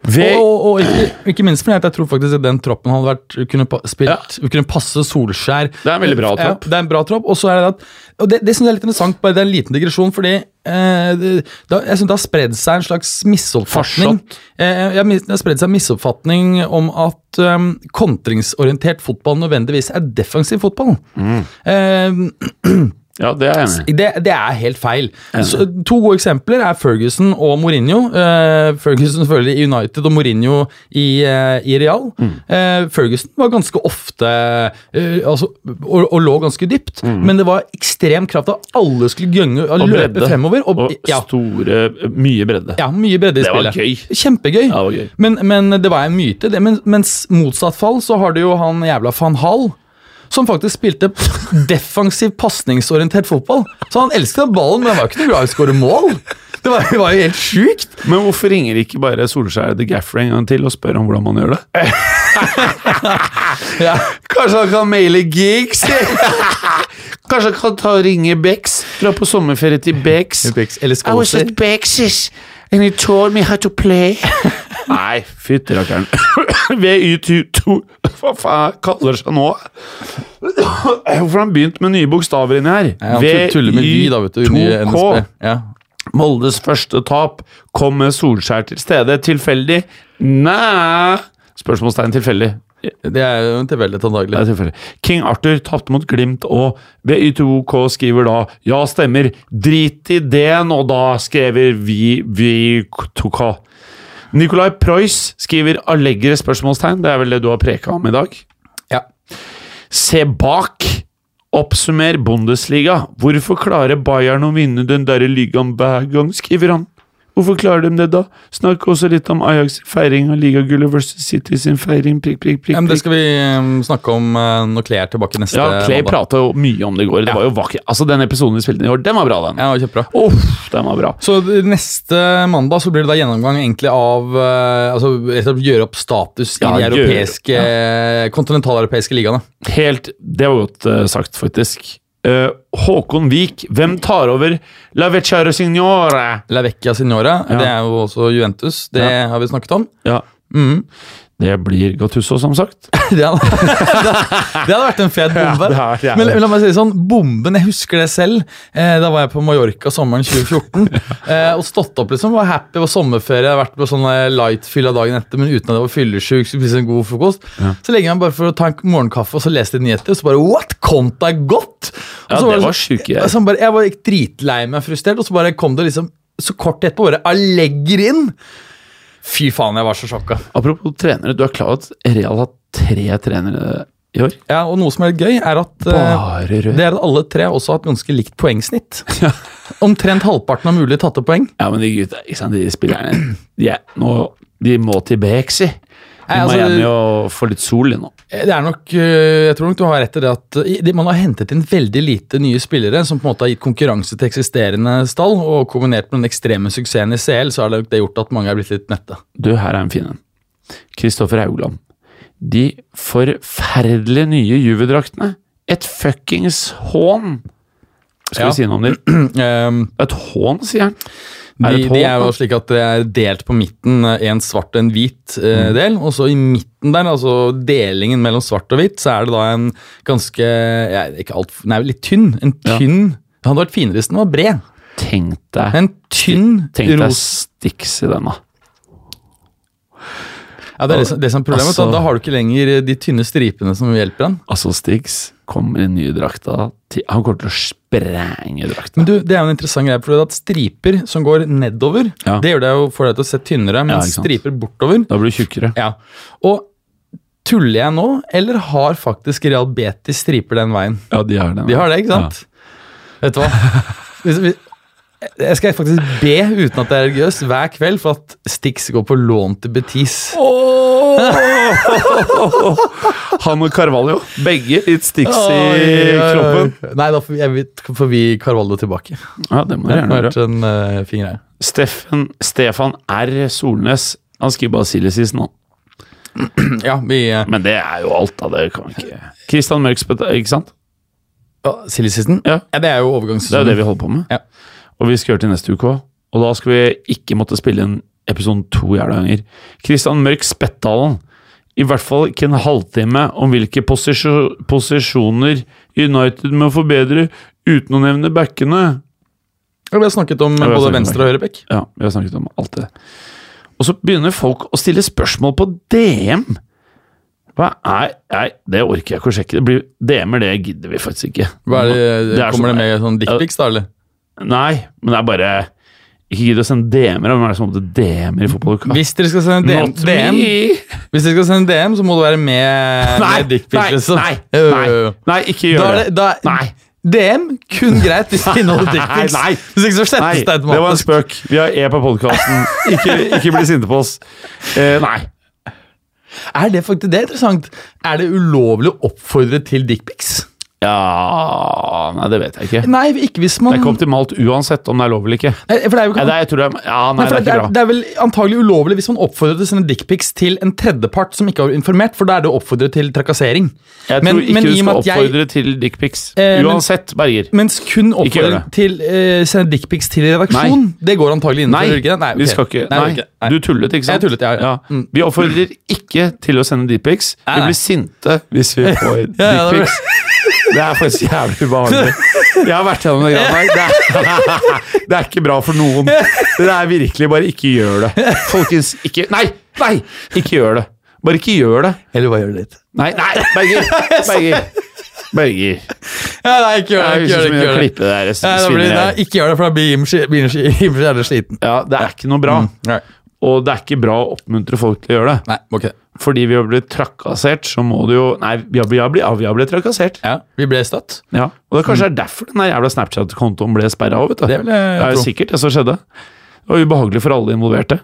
Speaker 3: Vi-
Speaker 4: Og, og, og ikke, ikke minst fordi at jeg tror faktisk at den troppen hadde vært, kunne, pa- spilt, kunne passe Solskjær.
Speaker 3: Det er en veldig bra
Speaker 4: Ja,
Speaker 3: tropp.
Speaker 4: det er en bra tropp. Og så er det at, og det, det synes jeg er litt interessant, bare det er en liten digresjon, fordi eh, det, da, jeg synes det har spredd seg en slags misoppfatning.
Speaker 3: Farsott.
Speaker 4: Eh, jeg mis- det har spredd seg en misoppfatning om at eh, kontringsorientert fotball nødvendigvis er defensiv fotball.
Speaker 3: Mm.
Speaker 4: Eh,
Speaker 3: Ja, det er jeg enig i.
Speaker 4: det, det er helt feil. Så, to gode eksempler er Ferguson og Mourinho. Eh, Ferguson selvfølgelig i United og Mourinho i, eh, i Real. Eh, Ferguson var ganske ofte eh, altså, og, og lå ganske dypt, men det var ekstrem kraft av alle skulle gønge Mm. og, løpe
Speaker 3: bredde.
Speaker 4: fremover. Og,
Speaker 3: Og
Speaker 4: ja,
Speaker 3: store, mye bredde.
Speaker 4: ja, mye bredde i
Speaker 3: Det var
Speaker 4: spillet.
Speaker 3: gøy.
Speaker 4: Kjempegøy.
Speaker 3: Ja, det var gøy.
Speaker 4: Men, men det var en myte. Det. Men, mens motsatt fall så har du jo han jævla van Hall. Som faktisk spilte defensiv pasningsorientert fotball. Så han elsket ballen, men han var jo ikke noe glad i å skåre mål. Det var, det var jo helt sjukt.
Speaker 3: Men hvorfor ringer ikke bare Solskjær The Gaffer en gang til og spør om hvordan man gjør det?
Speaker 4: Ja.
Speaker 3: Kanskje han kan maile gigs? Kanskje han kan ta og ringe Bex? Dra på sommerferie til Bex?
Speaker 4: Eller skåser.
Speaker 3: Bex's, and he told me how to play. Nei, fytti rakkeren. VY22 Hva faen kaller det seg nå? Hvorfor har han begynt med nye bokstaver inni her?
Speaker 4: Ja, han tuller med ly, da, vet du. Under NSB. Ja.
Speaker 3: Moldes første tap. Kom med Solskjær til stede. Tilfeldig? Nei Spørsmålstegn tilfeldig.
Speaker 4: Det er jo en tilfeldighet,
Speaker 3: Det
Speaker 4: antagelig.
Speaker 3: er tilfeldig. King Arthur tapte mot Glimt, og VY2K skriver da Ja, stemmer. Drit i det nå, da, skriver vi VY2K. Nicolai Preuss skriver allegre spørsmålstegn. Det er vel det du har preka om i dag?
Speaker 4: Ja.
Speaker 3: Se bak! Oppsummer Bundesliga. Hvorfor klarer Bayern å vinne den derre ligaen hver gang, skriver han. Hvorfor klarer de det, da? Snakk også litt om Ajax' feiring av ligagullet versus City sin feiring, prikk, prikk, prikk.
Speaker 4: Ja, men
Speaker 3: prikk.
Speaker 4: det skal vi eh, snakke om eh, når Clay er tilbake neste
Speaker 3: Ja, Clay
Speaker 4: mandag.
Speaker 3: prata jo mye om det i går. Det var jo vakkert. Altså, Den episoden vi spilte inn i år, den var bra, den.
Speaker 4: Ja, kjempebra.
Speaker 3: Uff, den var bra.
Speaker 4: Så d- neste mandag så blir det da gjennomgang egentlig av eh, altså, rett og slett Gjøre opp status
Speaker 3: Ja,
Speaker 4: i de
Speaker 3: gjøre-
Speaker 4: europeiske, eh, kontinentaleuropeiske ligaene.
Speaker 3: Helt Det var godt eh, sagt, faktisk. Eh, Håkon Vik, hvem tar over La Vecchiare Signore?
Speaker 4: La Vecchia Signora, det er jo også Juventus. Det
Speaker 3: Ja.
Speaker 4: har vi snakket om.
Speaker 3: Ja.
Speaker 4: Mhm.
Speaker 3: Det blir Gattusso, som sagt.
Speaker 4: Det hadde, det hadde vært en fet bombe.
Speaker 3: det hadde vært jævlig.
Speaker 4: men, men la meg si det sånn, bomben, jeg husker det selv. Eh, da var jeg på Mallorca sommeren 2014. Eh, og stått opp, liksom. Var happy, var sommerferie, vært på sånn eh, light-fylla dagen etter, men uten at jeg var fyllesyk. Skulle spise en god frokost. Så legger jeg meg bare for å ta en morgenkaffe og så lese litt nyheter, og så bare What? Konta er godt! Og
Speaker 3: Ja,
Speaker 4: så
Speaker 3: det
Speaker 4: så-
Speaker 3: var sjuke greier.
Speaker 4: så bare, Jeg var dritlei meg frustrert, og så bare kom det liksom så kort etterpå bare Allegger inn! Fy faen, jeg var så sjokka.
Speaker 3: Apropos trenere, du er klar over at Real har tre trenere i år?
Speaker 4: Ja, og noe som er litt gøy, er at eh,
Speaker 3: Bare rød.
Speaker 4: Det er at alle tre også har et ganske likt poengsnitt. Omtrent halvparten av mulig tatte poeng.
Speaker 3: Ja, men de gutta, ikke sant, de spillerne De, er- nå, de må til Bexi. De
Speaker 4: Nei,
Speaker 3: må
Speaker 4: altså-
Speaker 3: hjem og få litt sol nå.
Speaker 4: Eh, Det er nok, eh, Jeg tror nok du har rett i det at eh, de- man har hentet inn veldig lite nye spillere som på en måte har gitt konkurranse til eksisterende stall, og kombinert med den ekstreme suksessen i CL, så har det det gjort at mange er blitt litt mette.
Speaker 3: Du, her er en fin en. Kristoffer Haugland. De forferdelige nye Juve-draktene. Et fuckings hån! Skal
Speaker 4: Ja.
Speaker 3: vi si noe om det?
Speaker 4: Ehm,
Speaker 3: Et hån, sier han. Er det
Speaker 4: de,
Speaker 3: et
Speaker 4: de er
Speaker 3: hån?
Speaker 4: jo slik at det er delt på midten eh, en svart og en hvit eh, del, og så i midten der, altså delingen mellom svart og hvitt, så er det da en ganske ja, ikke alt, Nei, litt tynn. En tynn Det hadde vært finere hvis den var bred.
Speaker 3: Tenk deg,
Speaker 4: En tynn
Speaker 3: tenk deg
Speaker 4: ros.
Speaker 3: Stix i den, da.
Speaker 4: Ja, det er det som, det som er problemet.
Speaker 3: Altså-
Speaker 4: da, da har du ikke lenger de tynne stripene som hjelper den.
Speaker 3: Altså, Stix kommer i den nye drakta til Han kommer til å sprenge drakta.
Speaker 4: Men du, det er jo en interessant greie, for at striper som går nedover,
Speaker 3: Ja.
Speaker 4: det gjør det jo for deg til å se tynnere,
Speaker 3: Ja,
Speaker 4: mens
Speaker 3: ikke sant.
Speaker 4: striper bortover
Speaker 3: Da blir du tjukkere.
Speaker 4: Ja. Og tuller jeg nå, eller har faktisk Real Betis striper den veien?
Speaker 3: Ja, de har det.
Speaker 4: De har det, ikke sant? Vet du hva? Hvis vi- Jeg skal faktisk be, uten at det er religiøst, hver kveld for at Stix går på lån til Betis.
Speaker 3: Han og Carvalho, begge litt Stix i
Speaker 4: Oi, oi, oi.
Speaker 3: kroppen.
Speaker 4: Nei, da får vi, jeg vet, får vi Carvalho tilbake.
Speaker 3: Ja, det må
Speaker 4: Det
Speaker 3: dere
Speaker 4: har
Speaker 3: gjerne gjøre.
Speaker 4: vært en eh, fin greie.
Speaker 3: Steffen, Stefan R. Solnes. Han skriver bare Siljesisen, han.
Speaker 4: Ja, vi eh,
Speaker 3: Men det er jo alt, da. Det kan vi ikke Christian Mørksbøtt, ikke sant?
Speaker 4: ja, Silly season?
Speaker 3: Ja.
Speaker 4: det er jo
Speaker 3: Det er jo det
Speaker 4: overgangssesongen.
Speaker 3: vi holder på med.
Speaker 4: Ja.
Speaker 3: Og vi skal gjøre til neste uke òg. Og da skal vi ikke måtte spille inn episoden to jævla ganger. Christian Mørk Spettdalen. I hvert fall ikke en halvtime om hvilke posisjo- posisjoner United må forbedre uten å nevne backene.
Speaker 4: Vi har snakket om
Speaker 3: Ja, vi har
Speaker 4: både
Speaker 3: snakket om
Speaker 4: venstre- og høyrebekk.
Speaker 3: Ja, vi har snakket om alt det. Og så begynner folk å stille spørsmål på DM. Hva er Nei, det orker jeg ikke å sjekke. Det blir DM-er, det gidder vi faktisk ikke.
Speaker 4: Hva er det, eh,
Speaker 3: er
Speaker 4: kommer
Speaker 3: sånn-
Speaker 4: det med sånn dickpics, da? eller?
Speaker 3: Nei, men det er bare Ikke gidd å sende DM-er. Hvem er det som åpner DM-er i fotballuka?
Speaker 4: Hvis dere skal sende DM,
Speaker 3: Not
Speaker 4: DM
Speaker 3: me!
Speaker 4: Hvis dere skal sende DM, så må du være med,
Speaker 3: Nei,
Speaker 4: med dickpics.
Speaker 3: nei,
Speaker 4: liksom.
Speaker 3: nei,
Speaker 4: Jo, jo,
Speaker 3: nei,
Speaker 4: jo.
Speaker 3: nei, ikke gjør
Speaker 4: Da er
Speaker 3: det.
Speaker 4: det, da,
Speaker 3: Nei.
Speaker 4: DM kun greit hvis det inneholder dickpics.
Speaker 3: Nei, nei.
Speaker 4: Hvis ikke så
Speaker 3: Nei,
Speaker 4: slettes det
Speaker 3: det var en
Speaker 4: automatisk.
Speaker 3: spøk. Vi har E på podkasten. Ikke, ikke bli sinte på oss. Eh, nei.
Speaker 4: Er det faktisk det er interessant? Er det ulovlig å oppfordre til dickpics?
Speaker 3: Ja Nei, det vet jeg ikke.
Speaker 4: Nei, ikke hvis man
Speaker 3: Det er ikke optimalt uansett om det er lov eller ikke.
Speaker 4: Nei, for det er jo
Speaker 3: Nei,
Speaker 4: ikke
Speaker 3: det er, jeg tror det er, ja, nei,
Speaker 4: Nei, for
Speaker 3: det er
Speaker 4: det,
Speaker 3: ikke
Speaker 4: er,
Speaker 3: bra.
Speaker 4: det er vel antagelig ulovlig hvis man oppfordrer til å sende dickpics til en tredjepart som ikke har informert, for da er det å oppfordre til trakassering.
Speaker 3: Jeg
Speaker 4: men-
Speaker 3: tror ikke
Speaker 4: men
Speaker 3: du
Speaker 4: i og med
Speaker 3: skal
Speaker 4: at jeg-
Speaker 3: oppfordre til dickpics.
Speaker 4: Eh, men-
Speaker 3: Uansett, Berger.
Speaker 4: Mens kun
Speaker 3: Ikke gjør
Speaker 4: oppfordre
Speaker 3: det.
Speaker 4: til eh, sende dickpics til redaksjon, det går
Speaker 3: Nei,
Speaker 4: antagelig innenfor. gjør det ikke det?
Speaker 3: vi
Speaker 4: ok.
Speaker 3: skal ikke.
Speaker 4: Nei,
Speaker 3: Nei,
Speaker 4: ok. Nei.
Speaker 3: Du tullet, ikke sant?
Speaker 4: Jeg tullet, ja, ja. Mm.
Speaker 3: Vi oppfordrer ikke til å sende dickpics.
Speaker 4: Nei,
Speaker 3: Vi
Speaker 4: nei.
Speaker 3: blir sinte hvis vi får
Speaker 4: Ja, ja, det
Speaker 3: dickpics. Det er faktisk jævlig ubehagelig. Jeg har vært gjennom det greia der. Det er, det er ikke bra for noen. Det er virkelig bare ikke gjør det. Folkens, ikke Nei! Nei! Ikke gjør det. Bare ikke gjør det.
Speaker 4: Eller bare gjør det litt.
Speaker 3: Nei, nei, Berger! Berger. Berger.
Speaker 4: Ja, nei, ikke gjør det.
Speaker 3: Jeg
Speaker 4: Ikke gjør det, ikke
Speaker 3: å
Speaker 4: gjør det.
Speaker 3: klippe det der.
Speaker 4: Nei, da blir, nei,
Speaker 3: svineriet.
Speaker 4: ikke gjør det, for da blir Jim ski- begynner ski- Jim jævlig sliten.
Speaker 3: Ja, det er ikke noe bra.
Speaker 4: Nei.
Speaker 3: Og det er ikke bra å oppmuntre folk til å gjøre det.
Speaker 4: Mm. Nei, ok.
Speaker 3: fordi vi har blitt trakassert, så må du jo Nei, vi har blitt, vi har blitt, vi har blitt trakassert.
Speaker 4: Ja, vi ble støtt.
Speaker 3: Ja. Og det er kanskje derfor den der jævla Snapchat-kontoen ble sperra av. vet du.
Speaker 4: Mm. Det vil jeg
Speaker 3: er
Speaker 4: tro.
Speaker 3: jo sikkert det som skjedde. Det var ubehagelig for alle involverte.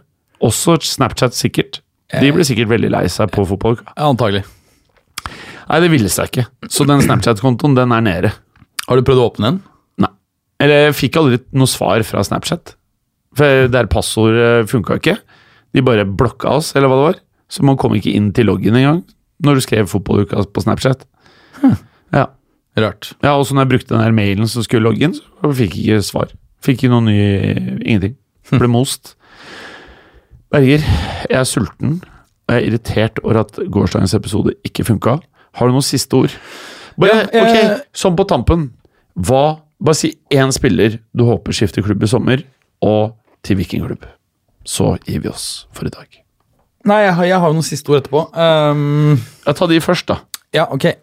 Speaker 3: Også Snapchat, sikkert. De ble sikkert veldig lei seg på fotballuka.
Speaker 4: Eh. Ja, antagelig.
Speaker 3: Nei, det ville seg ikke. Så den Snapchat-kontoen, den er nede.
Speaker 4: Har du prøvd å åpne den?
Speaker 3: Nei. Eller jeg fikk aldri noe svar fra Snapchat. For der passordet funka eh, ikke. De bare blokka oss, eller hva det var. Så man kom ikke inn til loggen engang når du skrev fotballuka på Snapchat. Ja.
Speaker 4: Rart.
Speaker 3: ja, og så når jeg brukte den her mailen som skulle logge inn, så fikk jeg ikke svar. Fikk ikke noe ny Ingenting. Ble most. Berger, jeg er sulten, og jeg er irritert over at gårsdagens episode ikke funka. Har du noen siste ord? Bare,
Speaker 4: Ja, eh,
Speaker 3: ok, Sånn på tampen. Hva, bare si én spiller du håper skifter klubb i sommer, og til hvilken klubb. Så gir vi oss for i dag.
Speaker 4: Nei, jeg har, jeg har jo noen siste ord etterpå. Ehm,
Speaker 3: Ja, Ta de først, da.
Speaker 4: Ja, ok.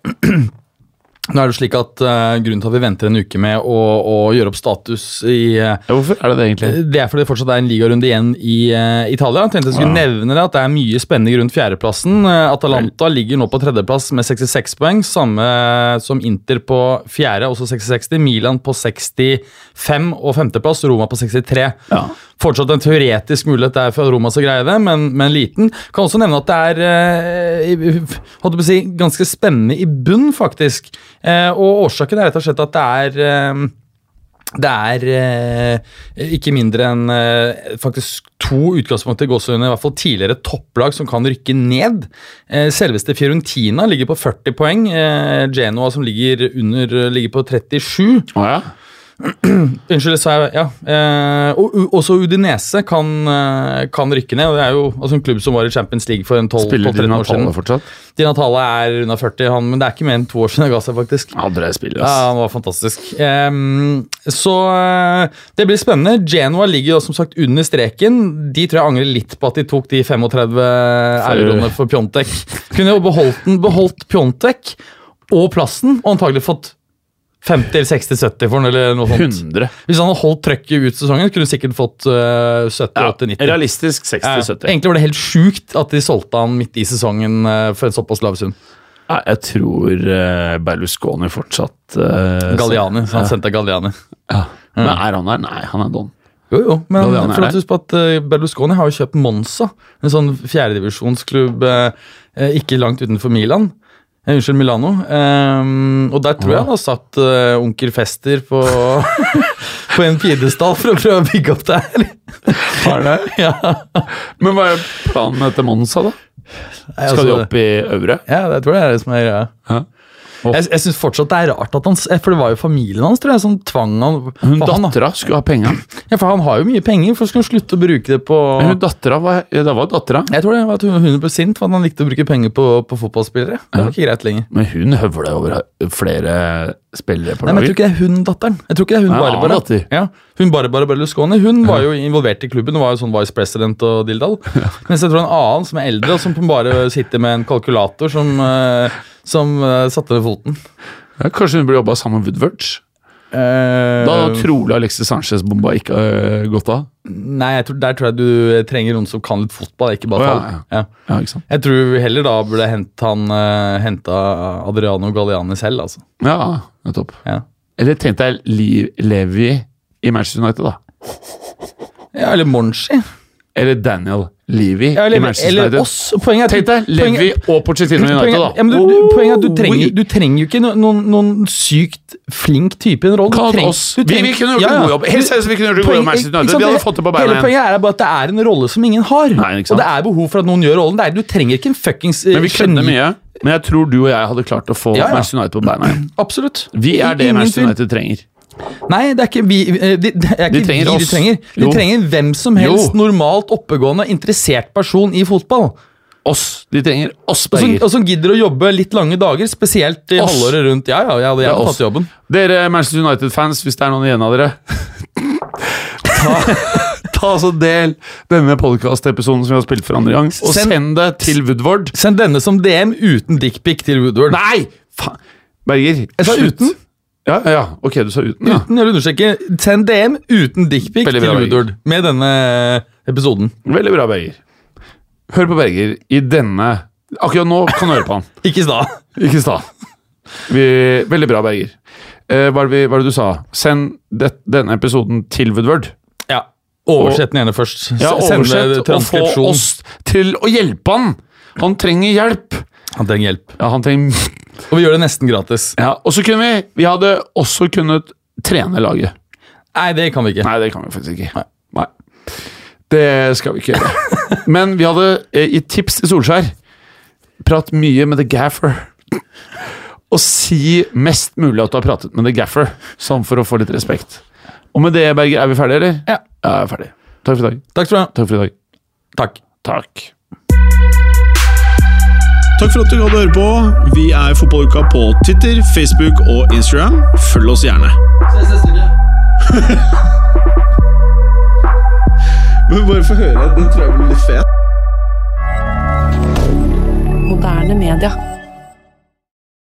Speaker 4: Nå er det slik at eh, Grunnen til at vi venter en uke med å, å gjøre opp status i eh,
Speaker 3: Ja, hvorfor er det det, egentlig?
Speaker 4: Det er fordi det fortsatt er en ligarunde igjen i eh, Italia. Jeg tenkte jeg skulle nevne det, at det er mye spennende rundt fjerdeplassen. Eh, Atalanta ligger nå på tredjeplass med 66 poeng, samme eh, som Inter på fjerde, også 66. Milan på 65 og femteplass, Roma på 63.
Speaker 3: Ja.
Speaker 4: Fortsatt en teoretisk mulighet der for at Roma skal greie det, men, men liten. Kan også nevne at det er eh, i- holdt jeg på å si, ganske spennende i bunn, faktisk. Eh, og årsaken er rett og slett at det er eh, det er eh, ikke mindre enn eh, faktisk to utgangspunkter i gåsehudene, i hvert fall tidligere topplag som kan rykke ned. Eh, selveste Fiorentina ligger på 40 poeng. Eh, Genoa som ligger under, eh, ligger på 37.
Speaker 3: Å ja?
Speaker 4: Unnskyld, sa jeg ja. Eh, og, og- også Udinese kan, eh, kan rykke ned. og Det er jo altså, en klubb som var i Champions League for en 12
Speaker 3: Spiller
Speaker 4: 12-13
Speaker 3: de
Speaker 4: år siden.
Speaker 3: Natale fortsatt?
Speaker 4: Di Natale er unna 40, han, men det er ikke mer enn to år siden jeg ga seg, faktisk.
Speaker 3: Andre spillere,
Speaker 4: Ja,
Speaker 3: ass.
Speaker 4: han var fantastisk. Ehm, så eh, det blir spennende. Genoa ligger jo som sagt under streken. De tror jeg angrer litt på at de tok de 35 euroene for Pjontek. Kunne jo beholdt, den, beholdt Pjontek og plassen, og antagelig fått 50 eller 60-70 for den, eller noe sånt.
Speaker 3: 100.
Speaker 4: Hvis han hadde holdt trøkket ut sesongen, kunne du sikkert fått eh, 70-80-90.
Speaker 3: Realistisk
Speaker 4: Ja,
Speaker 3: 60-70.
Speaker 4: Egentlig var det helt sjukt at de solgte han midt i sesongen eh, for en såpass lav sum.
Speaker 3: Ja, jeg tror eh, Berlusconi fortsatt eh, Mm.
Speaker 4: Galliani, så han sendte Galliani.
Speaker 3: så- Men er han der? Nei, han er don.
Speaker 4: Jo, jo, men
Speaker 3: Galliano er
Speaker 4: for at
Speaker 3: der.
Speaker 4: husk på at eh, Berlusconi har jo kjøpt Monza, en sånn fjerdedivisjonsklubb eh, eh, ikke langt utenfor Milan. Eh, unnskyld, Milano. Ehm, og der tror jeg han har satt eh, onkel Fester på, på en pidestall for å prøve å bygge opp det her. ja,
Speaker 3: Men hva er planen etter Monza, da?
Speaker 4: Nei,
Speaker 3: Skal de
Speaker 4: altså,
Speaker 3: opp i øvre?
Speaker 4: Ja, det tror jeg er det som er greia.
Speaker 3: Ja.
Speaker 4: Jeg, jeg eh, syns fortsatt det er rart at han s- For det var jo familien hans tror jeg, som tvang han
Speaker 3: Hun
Speaker 4: for han, da.
Speaker 3: dattera skulle ha penga.
Speaker 4: Ja, for han har jo mye penger, for skal han slutte å bruke det på
Speaker 3: Men hun dattera var ja, Det var dattera.
Speaker 4: Jeg tror det var at hun hun ble sint for at han likte å bruke penger på, på fotballspillere. Det var ikke greit lenger.
Speaker 3: Men hun høvla over flere spillere på
Speaker 4: Nei, men Jeg tror
Speaker 3: laget.
Speaker 4: ikke det er hun datteren. Jeg tror ikke det er Hun
Speaker 3: Nei, en annen
Speaker 4: Barbara
Speaker 3: datter.
Speaker 4: Ja, hun Barbara Berlusconi Hun var jo involvert i klubben og var jo sånn vice president og dilldall. Mens jeg tror en annen som er eldre, og som bare sitter med en kalkulator som, eh, som eh, satte ned foten.
Speaker 3: Ja, kanskje hun burde jobba sammen med Woodward? Da
Speaker 4: Eh,
Speaker 3: hadde trolig Alexis Sanchez-bomba ikke øh, gått av.
Speaker 4: Nei, jeg tror, der tror jeg du eh, trenger noen som kan litt fotball, ikke
Speaker 3: Å,
Speaker 4: bare
Speaker 3: ja,
Speaker 4: tall. Ja.
Speaker 3: Ja, ikke sant?
Speaker 4: Jeg tror vi heller da burde hente han eh, henta Adriano Galliani selv, altså.
Speaker 3: Ja, nettopp.
Speaker 4: Ja.
Speaker 3: Eller tenkte jeg Li- Levi i Manchester United, da.
Speaker 4: Ja, eller Monchi.
Speaker 3: Eller Daniel Levi
Speaker 4: Ja, eller,
Speaker 3: i Manchester
Speaker 4: eller
Speaker 3: United.
Speaker 4: oss. Poenget er
Speaker 3: Tenk deg Levi og Pochettino i United, da.
Speaker 4: Poenget, ja, men du, du, poenget er at du
Speaker 3: Oh,
Speaker 4: trenger, du trenger jo ikke no- noen, noen sykt flink type i en rolle. Du
Speaker 3: Kall
Speaker 4: trenger-
Speaker 3: oss.
Speaker 4: du
Speaker 3: Vi- vi kunne gjort en god jobb. Helt seriøst, vi kunne gjort en god jobb
Speaker 4: Poenget-
Speaker 3: i Manchester United.
Speaker 4: ikke
Speaker 3: Vi
Speaker 4: sant,
Speaker 3: hadde
Speaker 4: det-
Speaker 3: fått det på beina
Speaker 4: Hele
Speaker 3: igjen.
Speaker 4: poenget er bare at det er en rolle som ingen har.
Speaker 3: Nei, ikke sant.
Speaker 4: Og det er behov for at noen gjør rollen. Det er, du trenger ikke en fuckings eh,
Speaker 3: Men vi kødder mye. Men jeg tror du og jeg hadde klart å få
Speaker 4: Ja, ja.
Speaker 3: Manchester United på beina igjen.
Speaker 4: Absolutt.
Speaker 3: Vi er det
Speaker 4: Ingen
Speaker 3: Manchester
Speaker 4: tvil.
Speaker 3: United trenger.
Speaker 4: Nei, det er ikke vi eh, De, det er ikke
Speaker 3: trenger
Speaker 4: de trenger vi
Speaker 3: oss.
Speaker 4: de trenger. De
Speaker 3: Jo.
Speaker 4: trenger hvem som helst
Speaker 3: Jo.
Speaker 4: normalt oppegående, interessert person i fotball.
Speaker 3: Oss. De trenger oss,
Speaker 4: Og som,
Speaker 3: Berger.
Speaker 4: og som gidder å jobbe litt lange dager, spesielt i
Speaker 3: Oss.
Speaker 4: halvåret rundt. Ja, ja, ja, jeg
Speaker 3: Det er
Speaker 4: hadde
Speaker 3: oss.
Speaker 4: tatt jobben.
Speaker 3: Dere Manchester United-fans, hvis det er noen igjen av dere Ta, ta så del denne podkast-episoden som vi har spilt for andre gang, og
Speaker 4: Send-
Speaker 3: send det til Woodward.
Speaker 4: Send denne som DM uten dickpic til Woodward.
Speaker 3: Nei! Faen! Berger.
Speaker 4: Jeg sa
Speaker 3: slutt.
Speaker 4: uten.
Speaker 3: Ja, ja, ja. Ok, du sa uten, ja.
Speaker 4: Uten, jeg vil understreke, Send DM uten dickpic
Speaker 3: Veldig
Speaker 4: til
Speaker 3: bra, Erik.
Speaker 4: Woodward med denne episoden.
Speaker 3: Veldig bra, Berger. Hør på Berger i denne Akkurat nå kan du høre på han.
Speaker 4: Ikke i stad.
Speaker 3: Ikke i stad. Vi- Veldig bra, Berger. Eh, hva, er det vi, hva er det du sa? Send det, denne episoden til Woodward.
Speaker 4: Ja. Oversett den gjerne først. S-
Speaker 3: Ja,
Speaker 4: Sende
Speaker 3: oversett og få
Speaker 4: transkripsjon.
Speaker 3: oss til å hjelpe han! Han trenger hjelp!
Speaker 4: Han trenger hjelp.
Speaker 3: Ja, han trenger
Speaker 4: Og vi gjør det nesten gratis.
Speaker 3: Ja, og så kunne vi Vi hadde også kunnet trene laget.
Speaker 4: Nei, det kan vi ikke.
Speaker 3: Nei, det kan vi faktisk ikke. Nei. Det skal vi ikke gjøre. Men vi hadde eh, i tips til Solskjær Prat mye med The Gaffer. Og si mest mulig at du har pratet med The Gaffer, sånn for å få litt respekt. Og med det, Berger, er vi ferdige, eller?
Speaker 4: Ja.
Speaker 3: Ja, jeg er ferdig. Takk for i dag.
Speaker 4: Takk skal du ha.
Speaker 3: Takk for i dag.
Speaker 4: Takk.
Speaker 3: Takk.
Speaker 1: Takk for at du gikk og hørte på. Vi er Fotballuka på Twitter, Facebook og Instagram. Følg oss gjerne.
Speaker 2: Ses neste uke.
Speaker 1: Men bare få høre. Den tror jeg blir litt fet.
Speaker 5: moderne media.